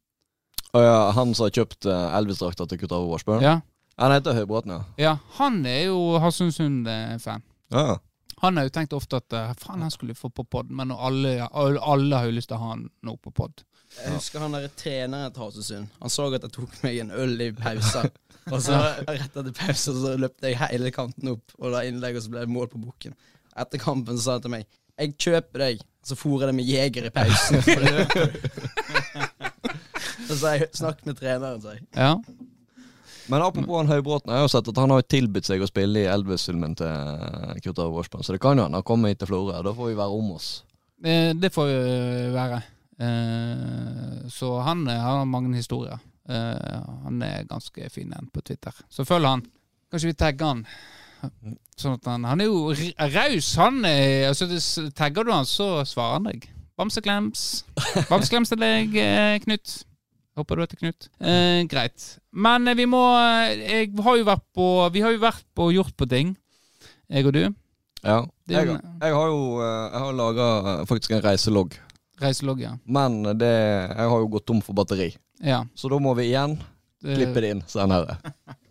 Speaker 2: Og ja, han som har kjøpt eh, Elvis-drakta til Kurt Arve Warsbø?
Speaker 4: Ja.
Speaker 2: Han heter Høybråten, ja.
Speaker 4: ja. Han er jo Hassundsund-fan.
Speaker 2: ja.
Speaker 4: Han har jo tenkt ofte at eh, faen, han skulle få på pod, men nå alle, alle, alle har jo lyst til å ha han nå på pod.
Speaker 3: Jeg husker han der treneren til Hasesund. Han så at jeg tok meg en øl i [LAUGHS] pausen. Og så rett etter pausen så løp jeg hele kanten opp og la innlegg, og så ble det mål på bukken. Etter kampen så sa han til meg 'Jeg kjøper deg', så fôrer jeg deg med Jeger i [LAUGHS] pausen. så løper du». Så sa jeg 'snakk med treneren', sa jeg.
Speaker 4: Ja.
Speaker 2: Men apropos han Høybråten, jeg har jo sett at han har tilbudt seg å spille i Elvis-filmen til eh, Kurt Arve Warsbø. Så det kan jo hende han kommer hit til Florø. Da får vi være om oss.
Speaker 4: Eh, Det får eh, være. Eh, Så han eh, har mange historier. Eh, Han er ganske fin en på Twitter. Så følg han. Kanskje vi tagger han. Sånn at han, han er jo r- raus, han. eh, Altså, det s- tagger du han, så svarer han deg. Bamseklems. Bamseklems til deg, eh, Knut. Håper du heter Knut. Eh, greit. Men eh, vi må eh, Jeg har jo vært på Vi har jo vært på gjort på ting, jeg og du.
Speaker 2: Ja.
Speaker 4: Det er
Speaker 2: Jeg,
Speaker 4: jo-
Speaker 2: jeg har jo eh, Jeg har laga faktisk en reiselogg.
Speaker 4: Reiselogget.
Speaker 2: Men det, jeg har jo gått tom for batteri.
Speaker 4: Ja.
Speaker 2: Så da må vi igjen
Speaker 4: det-
Speaker 2: klippe det inn senere.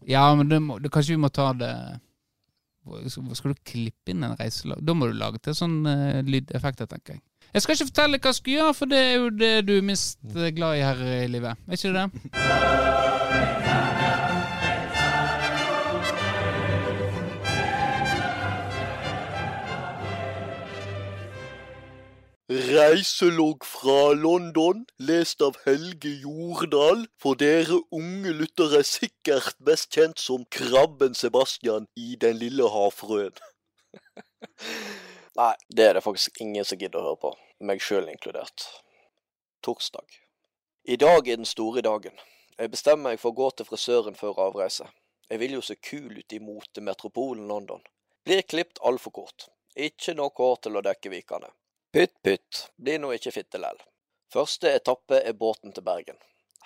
Speaker 4: Ja, men det må, det, kanskje vi må ta det Hvor- Skal skal du klippe inn en reiselag? Da må du lage til sånn eh, lydeffekter, tenker jeg. Jeg skal ikke fortelle hva jeg skal gjøre, for det er jo det du er minst eh, glad i her i livet. Er ikke det?
Speaker 5: Reiselogg fra London, lest av Helge Jordal, for dere unge lyttere sikkert best kjent som Krabben Sebastian i Den lille havfrøen. [LAUGHS] Nei, det er det faktisk ingen som gidder å høre på, meg sjøl inkludert. Torsdag. I dag er den store dagen. Jeg bestemmer meg for å gå til frisøren før avreise. Jeg vil jo se kul ut i motemetropolen London. Blir klipt altfor kort. Ikke nok hår til å dekke vikene. Pytt pytt, blir nå ikke fitte lell. Første etappe er båten til Bergen.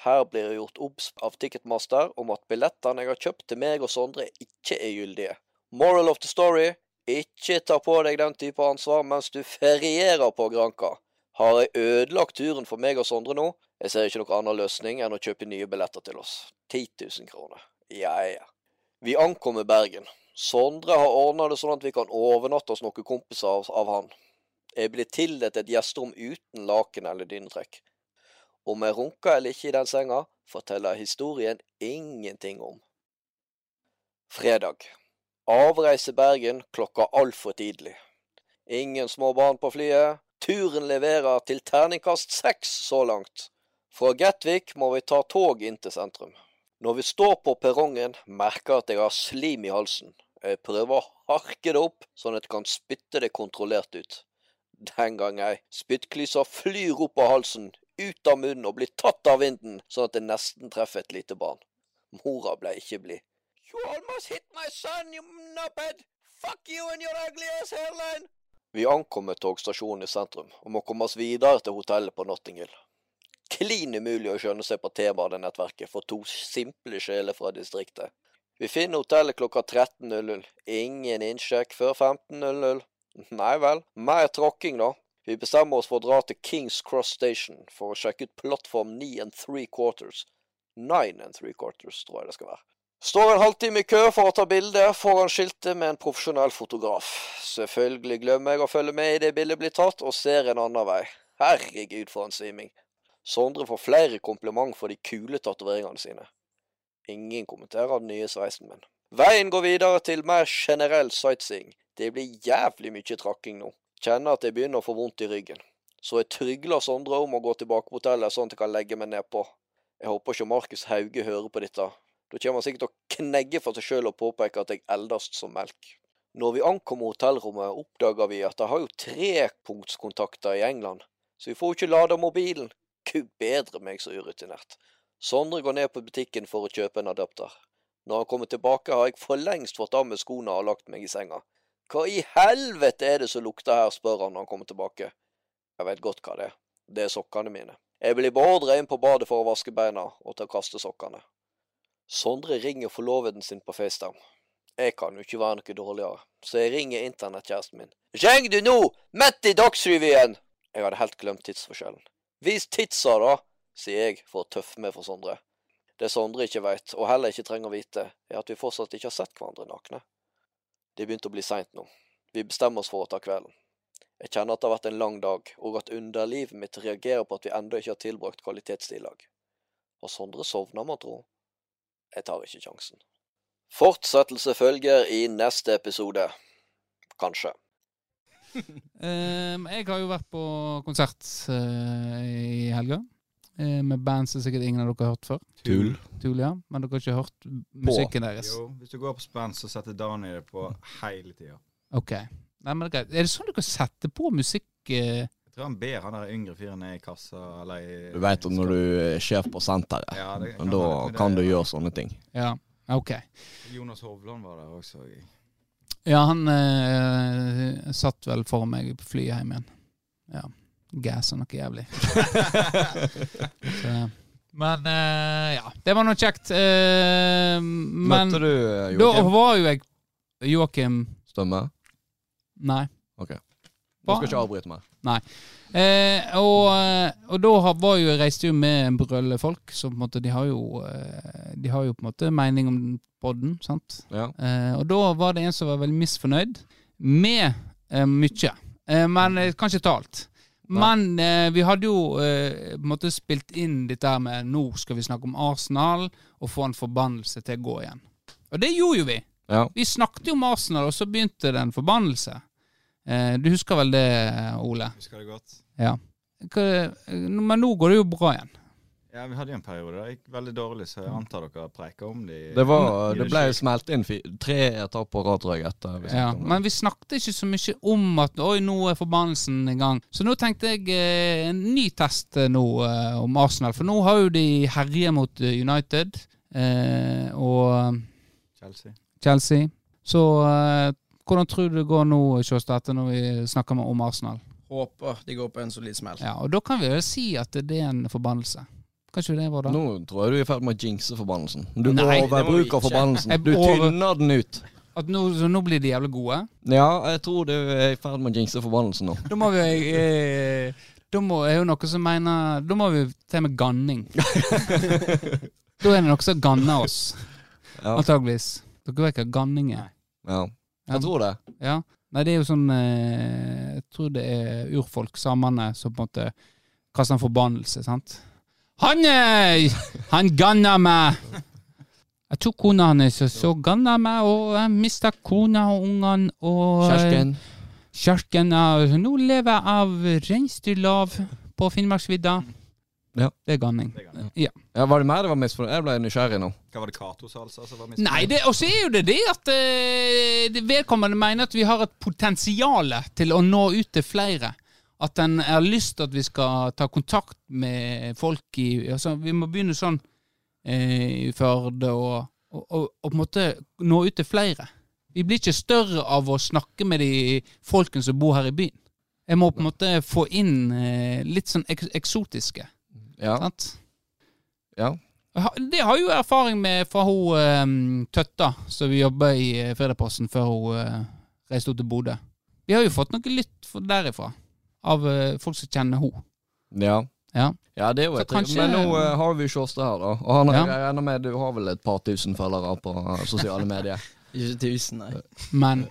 Speaker 5: Her blir det gjort obs av Ticketmaster om at billettene jeg har kjøpt til meg og Sondre ikke er gyldige. Moral of the story, ikke ta på deg den type ansvar mens du ferierer på Granka. Har jeg ødelagt turen for meg og Sondre nå? Jeg ser ikke noen annen løsning enn å kjøpe nye billetter til oss. 10 000 kroner. Ja, ja. Vi ankommer Bergen. Sondre har ordna det sånn at vi kan overnatte hos noen kompiser av, av han. Jeg ble Eh, tildelt et gjesterom uten laken eller dynetrekk. Om jeg runka eller ikke i den senga, forteller historien ingenting om. Fredag. Avreise Bergen klokka altfor tidlig. Ingen små barn på flyet. Turen leverer til terningkast seks så langt. Fra Gatwick må vi ta tog inn til sentrum. Når vi står på perrongen, merker jeg at jeg har slim i halsen. Jeg prøver å harke det opp, sånn at jeg kan spytte det kontrollert ut. Den gang ei. Spyttklyser flyr opp av halsen, ut av munnen og blir tatt av vinden, sånn at det nesten treffer et lite barn. Mora ble ikke blid. You almost hit my son, you nubbed! Fuck you and your ugly ass hairline! Vi ankommer togstasjonen i sentrum, og må komme oss videre til hotellet på Notting Hill. Klin umulig å skjønne seg på T-banenettverket for to simple sjeler fra distriktet. Vi finner hotellet klokka 13.00. Ingen innsjekk før 15.00. Nei vel, mer tråkking da. Vi bestemmer oss for å dra til Kings Cross Station for å sjekke ut plattform 9 and 3 quarters. 9 and 3 quarters, tror jeg det skal være. Står en halvtime i kø for å ta bilde foran skiltet med en profesjonell fotograf. Selvfølgelig glemmer jeg å følge med i det bildet blir tatt, og ser en annen vei. Herregud, for en sviming. Sondre får flere kompliment for de kule tatoveringene sine. Ingen kommenterer den nye sveisen min. Veien går videre til mer generell sightseeing. Det blir jævlig mye trakking nå. Kjenner at jeg begynner å få vondt i ryggen. Så jeg trygler Sondre om å gå tilbake på hotellet, sånn at jeg kan legge meg nedpå. Jeg håper ikke Markus Hauge hører på dette. Da kommer han sikkert til å knegge for seg sjøl og påpeke at jeg eldast som melk. Når vi ankommer hotellrommet, oppdager vi at de har jo trepunktskontakter i England, så vi får jo ikke lada mobilen. Gud bedre meg så urutinert. Sondre går ned på butikken for å kjøpe en adapter. Når han kommer tilbake, har jeg for lengst fått av meg skoene og lagt meg i senga. Hva i helvete er det som lukter her, spør han når han kommer tilbake. Jeg vet godt hva det er. Det er sokkene mine. Jeg blir beordra inn på badet for å vaske beina og til å kaste sokkene. Sondre ringer forloveden sin på FaceTime. Jeg kan jo ikke være noe dårligere, så jeg ringer internettkjæresten min. Ring du nå! Mett i Dagsrevyen! Jeg hadde helt glemt tidsforskjellen. Vis tidsa, da, sier jeg for å tøffe meg for Sondre. Det Sondre ikke veit, og heller ikke trenger å vite, er at vi fortsatt ikke har sett hverandre nakne. Det begynte å bli seint nå. Vi bestemmer oss for å ta kvelden. Jeg kjenner at det har vært en lang dag, og at underlivet mitt reagerer på at vi ennå ikke har tilbrakt kvalitetstid i lag. Har Sondre sovna, man tro? Jeg tar ikke sjansen. Fortsettelse følger i neste episode. Kanskje.
Speaker 4: Ehm, jeg har jo vært på konsert eh, i helga. eh, med band som sikkert ingen av dere har hørt før.
Speaker 2: Tull.
Speaker 4: Tull, ja. Men dere har ikke hørt musikken deres.
Speaker 6: Jo, hvis du går på spenn, så setter Daniel det på hele tida.
Speaker 4: Ok. Nei, men det er greit. Er det sånn dere setter på musikk eh,
Speaker 6: Jeg tror han ber han der yngre fyren er i kassa, eller i
Speaker 2: Du vet at når du er sjef på senteret,
Speaker 6: Ja, det kan
Speaker 2: da
Speaker 6: være, men det-
Speaker 2: kan du gjøre sånne ting.
Speaker 4: Ja. Ok.
Speaker 6: Jonas Hovland var der også. Jeg.
Speaker 4: Ja, han eh, satt vel for meg på flyet hjem igjen. Ja. Gassa noe [LAUGHS] jævlig. Så, men eh, ja. Det var nå kjekt. Eh, men
Speaker 2: Møtte du eh,
Speaker 4: da
Speaker 2: Joakim
Speaker 4: var jo jeg Joakim
Speaker 2: Stømme?
Speaker 4: Nei.
Speaker 2: Du skal ikke avbryte meg.
Speaker 4: Eh, og, eh, og da har- var jo, jeg reiste jo med en brølle folk, så på en måte, de har jo, eh, de har jo på en måte mening om podden, sant?
Speaker 2: Ja.
Speaker 4: Eh, og da var det en som var veldig misfornøyd med eh, mye, eh, men eh, kanskje talt.
Speaker 2: Nei.
Speaker 4: Men eh, vi hadde jo eh, på en måte spilt inn dette her med nå skal vi snakke om Arsenal og få en forbannelse til å gå igjen. Og det gjorde jo vi.
Speaker 2: Ja.
Speaker 4: Vi snakket jo om Arsenal, og så begynte det en forbannelse. Eh, du husker vel det, Ole?
Speaker 6: Husker det godt.
Speaker 4: Hva- eh, Men nå går det jo bra igjen.
Speaker 6: Ja, Vi hadde jo en periode der det gikk veldig dårlig, så
Speaker 4: Mm.
Speaker 6: jeg antar dere preiker om de
Speaker 2: Det, var,
Speaker 6: i
Speaker 2: det
Speaker 6: det
Speaker 2: ble
Speaker 6: skjulte.
Speaker 2: smelt inn fi- tre etapper på rad, tror jeg. Etter vi
Speaker 4: Ja,
Speaker 2: snakket om det.
Speaker 4: men vi snakket ikke så mye om at Oi, nå er forbannelsen i gang. Så nå tenkte jeg eh, en ny test eh, nå eh, om Arsenal. For nå har jo de herjet mot eh, United eh, og
Speaker 6: Chelsea.
Speaker 4: Chelsea. Så eh, hvordan tror du det går nå, Sjåstad, etter når vi snakker med, om Arsenal?
Speaker 3: Håper de går på en solid smell.
Speaker 4: Ja, Og da kan vi jo si at det er en forbannelse. Kanskje det var det?
Speaker 2: Nå tror jeg du er i ferd med å jinxe forbannelsen. Du
Speaker 4: Nei,
Speaker 3: det må du ikke.
Speaker 2: overbruker forbannelsen.
Speaker 4: Jeg
Speaker 2: Du
Speaker 4: over-
Speaker 2: tynner den ut.
Speaker 4: At nå, så nå blir de jævlig gode?
Speaker 2: Ja, jeg tror du er i ferd med å jinxe forbannelsen nå.
Speaker 4: Da må vi eh, Da må, er jo noe som mener Da må vi til med ganning. da er det noe som ganner oss,
Speaker 2: Ja.
Speaker 4: antageligvis. Dere vet hva ganning er?
Speaker 2: Ja. Jeg tror det.
Speaker 4: Ja. Nei, det er jo sånn eh, Jeg tror det er urfolk, samene, som på en måte kaster en forbannelse, sant? Han eh, Han ganna meg! Jeg tok kona hans, og så ganna jeg meg, og jeg mista kona og ungene og
Speaker 2: Kjersken.
Speaker 4: Kjerken er altså, Nå lever jeg av reinsdyrlav på Finnmarksvidda.
Speaker 2: Ja.
Speaker 4: Det er ganning.
Speaker 6: Det kan jeg.
Speaker 2: Ja, var det meg det var misfornøyd? Jeg ble nysgjerrig nå.
Speaker 6: Hva var det Cato-salsa som var
Speaker 4: Nei, det, og så er jo det det at eh, det vedkommende mener at vi har et potensial til å nå ut til flere. At en har lyst til at vi skal ta kontakt med folk i altså, Vi må begynne sånn eh, i Førde og, og, og, og på en måte nå ut til flere. Vi blir ikke større av å snakke med de folkene som bor her i byen. Jeg må på en måte få inn eh, litt sånn ek eksotiske.
Speaker 2: Ja.
Speaker 4: Sant?
Speaker 2: Ja.
Speaker 4: Ha- Det har jo erfaring med fra hun ehm, Tøtta, som vi jobba i eh, Fredagsposten før hun eh, reiste ut til Bodø. Vi har jo fått noe lytt for- derifra. av eh, folk som kjenner henne.
Speaker 2: Ja.
Speaker 4: Ja.
Speaker 2: Ja, det er jo
Speaker 4: Så
Speaker 2: et triks.
Speaker 4: kanskje-
Speaker 2: Men nå eh, har vi Sjåstad her, da. Og han har,
Speaker 4: Ja.
Speaker 2: jeg regner med du har vel et par tusen følgere på eh, sosiale medier.
Speaker 3: Ikke tusen, nei.
Speaker 4: Men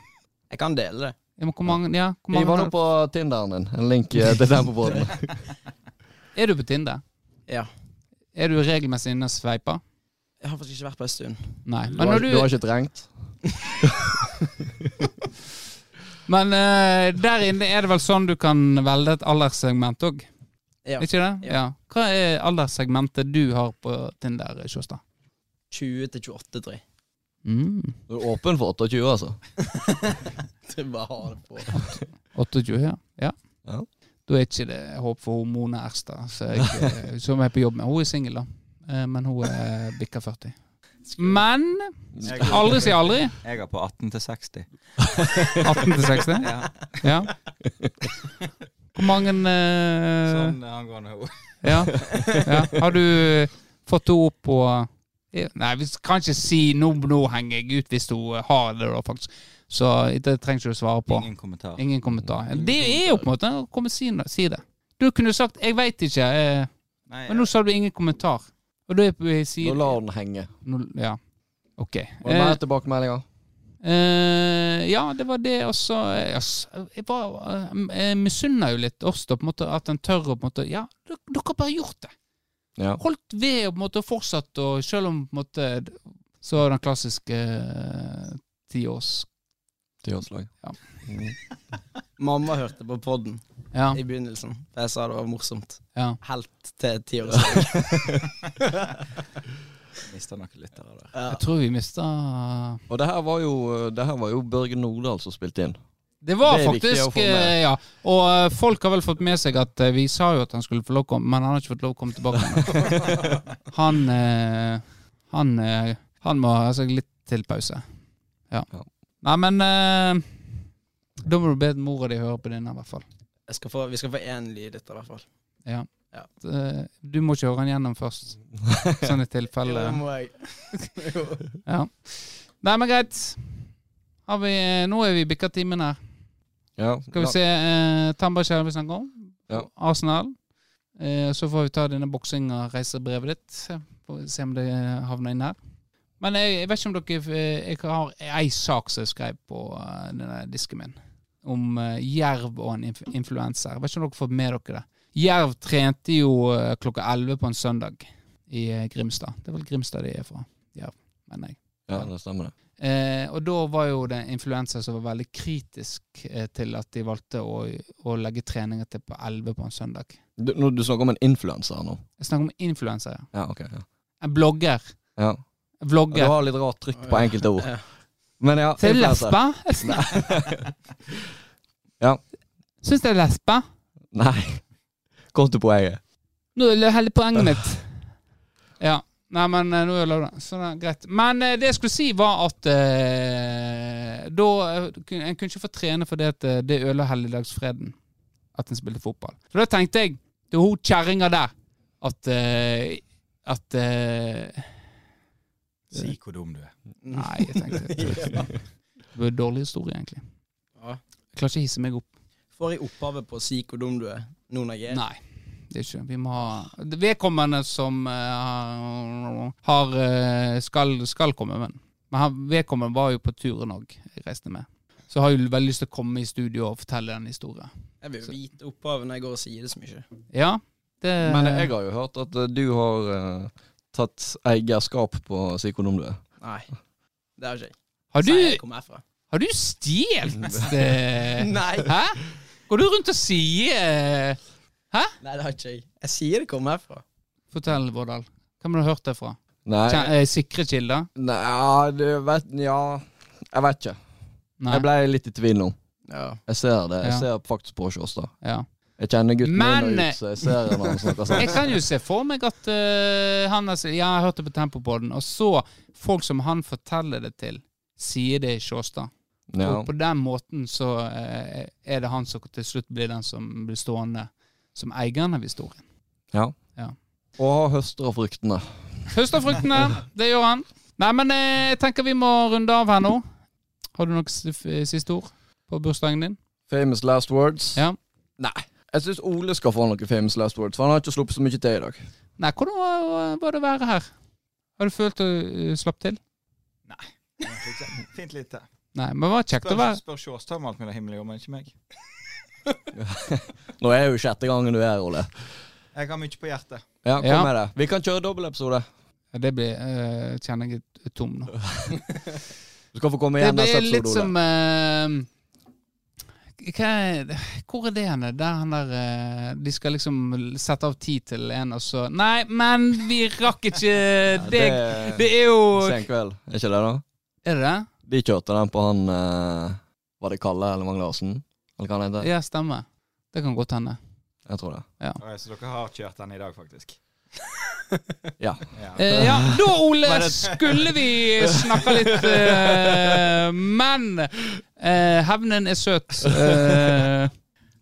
Speaker 3: Jeg kan dele det.
Speaker 4: ja, men hvor mange, ja, hvor
Speaker 2: Vi
Speaker 4: mange
Speaker 2: var nå på Tinderen din. En link eh, til den på båten.
Speaker 4: Er du på Tinder?
Speaker 3: Ja.
Speaker 4: Er du regelmessig inne og sveiper?
Speaker 3: Jeg har faktisk ikke vært på en stund.
Speaker 4: Nei.
Speaker 2: Du,
Speaker 4: Men,
Speaker 2: har-
Speaker 4: når
Speaker 2: du har
Speaker 4: du,
Speaker 2: ikke trengt?
Speaker 4: men eh, der inne er det vel sånn du kan velge et alderssegment òg?
Speaker 3: Ja.
Speaker 4: Ikke det?
Speaker 3: Ja.
Speaker 4: Ja. Hva er alderssegmentet du har på Tinder, Sjåstad?
Speaker 3: 20 til 28, tror jeg. [LAUGHS]
Speaker 4: Mm.
Speaker 2: Du er åpen for 28, altså?
Speaker 3: Tror jeg bare har det på.
Speaker 4: 28, ja. ja.
Speaker 2: Ja.
Speaker 4: Da er ikke det håp for hun Mone Erstad, så jeg, eh, som jeg er på jobb med. Hun er singel, da. Eh, Men hun er bikka 40. Men
Speaker 6: Jeg,
Speaker 4: aldri Eh. si aldri.
Speaker 6: jeg er på 18 til 60.
Speaker 4: 18 til 60.
Speaker 6: Ja,
Speaker 4: Ja. Hvor mange eh,
Speaker 6: sånn angående henne.
Speaker 4: ja. ja. Har du fått henne opp på eh, Nei, vi kan ikke si nå, nå henger jeg ut, hvis hun har det, da, faktisk. Så det trenger ikke du svare på.
Speaker 6: Ingen kommentar.
Speaker 4: Ingen kommentar. Det er jo på en måte å komme og si, si det. Du kunne sagt 'jeg veit ikke', eh,
Speaker 6: Nei,
Speaker 4: men nå sa du ingen kommentar. Og da er vi sier
Speaker 2: Nå lar den henge.
Speaker 4: nå- Ja. Ok.
Speaker 2: Var det
Speaker 4: Eh,
Speaker 2: mer tilbakemeldinger?
Speaker 4: Eh, ja, det var det også. Eh, altså, Jeg var, eh, jeg misunner jo litt oss da, på en måte, at en tør å på en måte Ja, d- dere har bare gjort det.
Speaker 2: Ja.
Speaker 4: Holdt ved og på en måte fortsatt, og selv om på en måte d- Så er den klassiske eh, tiårs...
Speaker 2: Tiårslag.
Speaker 4: Ja.
Speaker 2: Mm.
Speaker 3: Mamma hørte på podden
Speaker 4: ja.
Speaker 3: i begynnelsen, da jeg sa det var morsomt.
Speaker 4: Ja.
Speaker 3: Helt til ti år siden.
Speaker 6: Mister noen lyttere der.
Speaker 3: Ja.
Speaker 4: Jeg tror vi mista
Speaker 2: Og det her var jo, eh, det her var jo Børge Nordahl som spilte inn.
Speaker 4: Det var
Speaker 2: Det er viktig å
Speaker 4: faktisk
Speaker 2: få med.
Speaker 4: eh, Ja. Og eh, folk har vel fått med seg at eh, vi sa jo at han skulle få lov å komme, men han har ikke fått lov å komme tilbake.
Speaker 2: [LAUGHS]
Speaker 4: han eh, han, eh, han må ha seg litt til pause. Ja.
Speaker 2: Ja.
Speaker 4: Nei, men eh, da må du be mora di høre på denne, i hvert fall.
Speaker 3: Jeg skal få, vi skal få én lyd etter, i hvert fall.
Speaker 4: Eh, Du må ikke høre den gjennom
Speaker 2: [LAUGHS]
Speaker 4: først, sånn i
Speaker 3: Jo,
Speaker 4: tilfelle
Speaker 3: det må jeg. Jo.
Speaker 4: ja. Nei, men greit. Har vi, eh, nå er vi bikka timen her.
Speaker 2: Ja.
Speaker 4: Skal vi
Speaker 2: Ja.
Speaker 4: se eh, Tambarskjær vi snakker om.
Speaker 2: Ja.
Speaker 4: Arsenal. Eh, så får vi ta denne boksinga og reisebrevet ditt. Får vi se om det eh, havner inn her. Men jeg, jeg vet ikke om dere eh, Jeg har ei sak som jeg skrev på eh, denne disken min. Om eh, jerv og en inf influenser. Jeg vet ikke om dere har fått med dere det. Jerv trente jo eh, klokka 11 på en søndag i eh, Grimstad. Det er vel Grimstad de er fra. Jerv, mener jeg.
Speaker 2: ja, det stemmer det.
Speaker 4: Eh, og da var jo det en influenser som var veldig kritisk eh, til at de valgte å, å legge treninger til på 11 på en søndag.
Speaker 2: Du, nå, du snakker om en influenser nå?
Speaker 4: Jeg snakker om influensere.
Speaker 2: Ja, ok. Ja.
Speaker 4: En blogger.
Speaker 2: Ja.
Speaker 4: En
Speaker 2: Du
Speaker 4: vlogger.
Speaker 2: har litt rart trykk på enkelte ord.
Speaker 3: Ja.
Speaker 2: Men ja,
Speaker 4: Til
Speaker 2: influencer.
Speaker 4: lesbe? [LAUGHS]
Speaker 2: Ja.
Speaker 4: Syns det er lesbe?
Speaker 2: Nei. Kom til poenget.
Speaker 4: Nå er det hele poenget mitt. Ja. Nei, men eh, nå er det lørdag, så det er greit. Men eh, det jeg skulle si, var at eh, da eh, kun- En kunne ikke få trene fordi at eh, det ødela helligdagsfreden at en spilte fotball. Så da tenkte jeg til hun kjerringa der at eh, At eh,
Speaker 6: Si hvor dum du er.
Speaker 4: Nei, jeg tenkte Det var en dårlig historie, egentlig.
Speaker 3: Ja.
Speaker 4: Jeg klarer ikke å hisse meg opp.
Speaker 3: Får jeg opphavet på å si hvor dum du er nå når jeg er
Speaker 4: Nei. Det er ikke, vi må ha Vedkommende som eh, har- har eh, skal, skal komme, men, men han, vedkommende var jo på turen òg jeg reiste med. Så har jeg jo veldig lyst til å komme i studio og fortelle den historien.
Speaker 3: Jeg vil jo vite opphavet når jeg går og sier det så mye.
Speaker 4: Ja, det
Speaker 2: Men jeg har jo hørt at eh, du har eh, tatt eierskap på å si hvordan du er.
Speaker 3: Nei. Det har ikke jeg.
Speaker 4: Har du,
Speaker 3: Si jeg kommer herfra.
Speaker 4: har du
Speaker 2: [LAUGHS]
Speaker 4: stjålet eh,
Speaker 3: Nei.
Speaker 4: Hæ? Går du rundt og sier eh,
Speaker 3: Nei, det har ikke jeg. Jeg sier det kommer herfra.
Speaker 4: Fortell, Vårdal. Hvem har du hørt det fra?
Speaker 2: Nei,
Speaker 4: Kjen, eh, sikre kilder?
Speaker 2: nei ja, du vet Ja, jeg vet ikke.
Speaker 4: Nei.
Speaker 2: Jeg ble litt i tvil nå.
Speaker 3: Ja.
Speaker 2: Jeg ser det. Jeg
Speaker 4: Ja.
Speaker 2: ser faktisk på Sjåstad.
Speaker 4: Ja.
Speaker 2: Jeg kjenner gutten
Speaker 4: Men-
Speaker 2: min og ut, så jeg ser når han snakker sånn.
Speaker 4: [LAUGHS] Jeg
Speaker 2: sant.
Speaker 4: kan jo se for meg at eh, han har, Ja, jeg hørte på Tempopodden, og så folk som han forteller det til, sier det i Sjåstad.
Speaker 2: Ja.
Speaker 4: Og på den måten så eh, er det han som til slutt blir den som blir stående som eieren av historien.
Speaker 2: Og har høster av fruktene.
Speaker 4: Høster fruktene, det gjør han. Nei, men eh, jeg tenker vi må runde av her nå. Har du noe s- f- siste ord eh, på bursdagen din?
Speaker 2: Famous last words.
Speaker 4: Ja.
Speaker 2: Nei. Jeg syns Ole skal få noen famous last words, for han har ikke sluppet så mye til i dag.
Speaker 4: Nei, hvordan var- var det å være her? Har du følt du slapp til?
Speaker 6: Fint lite.
Speaker 4: Nei, men det var kjekt å
Speaker 6: Spør,
Speaker 4: være
Speaker 6: spør Sjåstad om alt mellom himmel og jord, men ikke meg.
Speaker 2: Nå er det jo sjette gangen du er her, Ole.
Speaker 6: Jeg har mye på hjertet.
Speaker 2: Ja, kom
Speaker 4: Ja.
Speaker 2: med det. Vi kan kjøre dobbeltepisode.
Speaker 4: Ja, Det blir eh, Kjenner jeg er tom nå.
Speaker 2: Du skal få komme
Speaker 4: Det
Speaker 2: igjen neste
Speaker 4: blir litt
Speaker 2: episode, Ole.
Speaker 4: som eh, hva er, Hvor er det hen? Der han der eh, De skal liksom sette av tid til en, og så Nei, men vi rakk [LAUGHS] ikke det.
Speaker 2: det
Speaker 4: Det er jo
Speaker 2: Sen kveld, er ikke det, da?
Speaker 4: Er det det?
Speaker 2: De kjørte den på han eh, Var det Kalle eller Magne Larsen? Eller hva han heter?
Speaker 4: Ja, stemmer. Det kan godt [LAUGHS] hende.
Speaker 2: Jeg tror det.
Speaker 6: Oi, så dere har kjørt den i dag, faktisk?
Speaker 2: Ja.
Speaker 6: Ja.
Speaker 4: Eh, [LAUGHS] ja, da, Ole, skulle vi snakke litt eh, Men eh, hevnen er søt. [LAUGHS] Eh,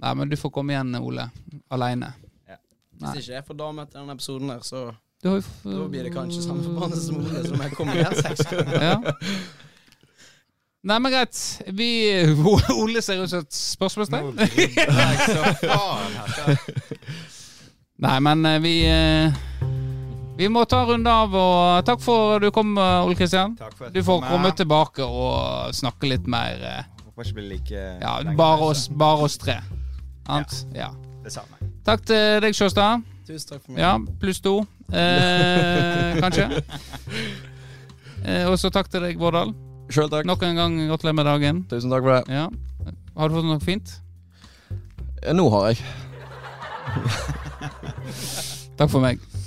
Speaker 4: nei, men du får komme igjen, Ole. Aleine.
Speaker 3: Hvis ikke jeg får dame etter den episoden der, så
Speaker 4: Da
Speaker 3: da blir det kanskje samme forbannelse som Ole, som jeg kommer her
Speaker 4: [LAUGHS]
Speaker 3: seks ganger.
Speaker 4: Ja. Nei, men greit. Vi, [LAUGHS] Ole ser ut som et spørsmålstegn.
Speaker 6: Nå rydder jeg så faen altså.
Speaker 4: [LAUGHS]
Speaker 6: her.
Speaker 4: Nei, men eh, vi eh, Vi må ta en runde av, og eh, takk for du kom, eh, Ole Kristian.
Speaker 6: Takk for at
Speaker 4: Du får
Speaker 6: kom.
Speaker 4: komme tilbake og snakke litt mer. eh,
Speaker 6: Håper ikke bli like
Speaker 4: Ja,
Speaker 6: lenge.
Speaker 4: bare oss, bare oss tre. Sant? Ja.
Speaker 6: Det samme.
Speaker 4: Takk til deg, Sjåstad.
Speaker 3: Tusen takk for meg.
Speaker 4: Ja, pluss to,
Speaker 6: [LAUGHS]
Speaker 4: eh, kanskje. Eh, og så takk til deg, Vårdal.
Speaker 2: Sjøl takk.
Speaker 4: Nok en gang gratulerer med dagen.
Speaker 2: Tusen takk for det.
Speaker 4: Ja. Har du fått noe fint?
Speaker 2: Eh, Nå har jeg.
Speaker 4: Takk for meg.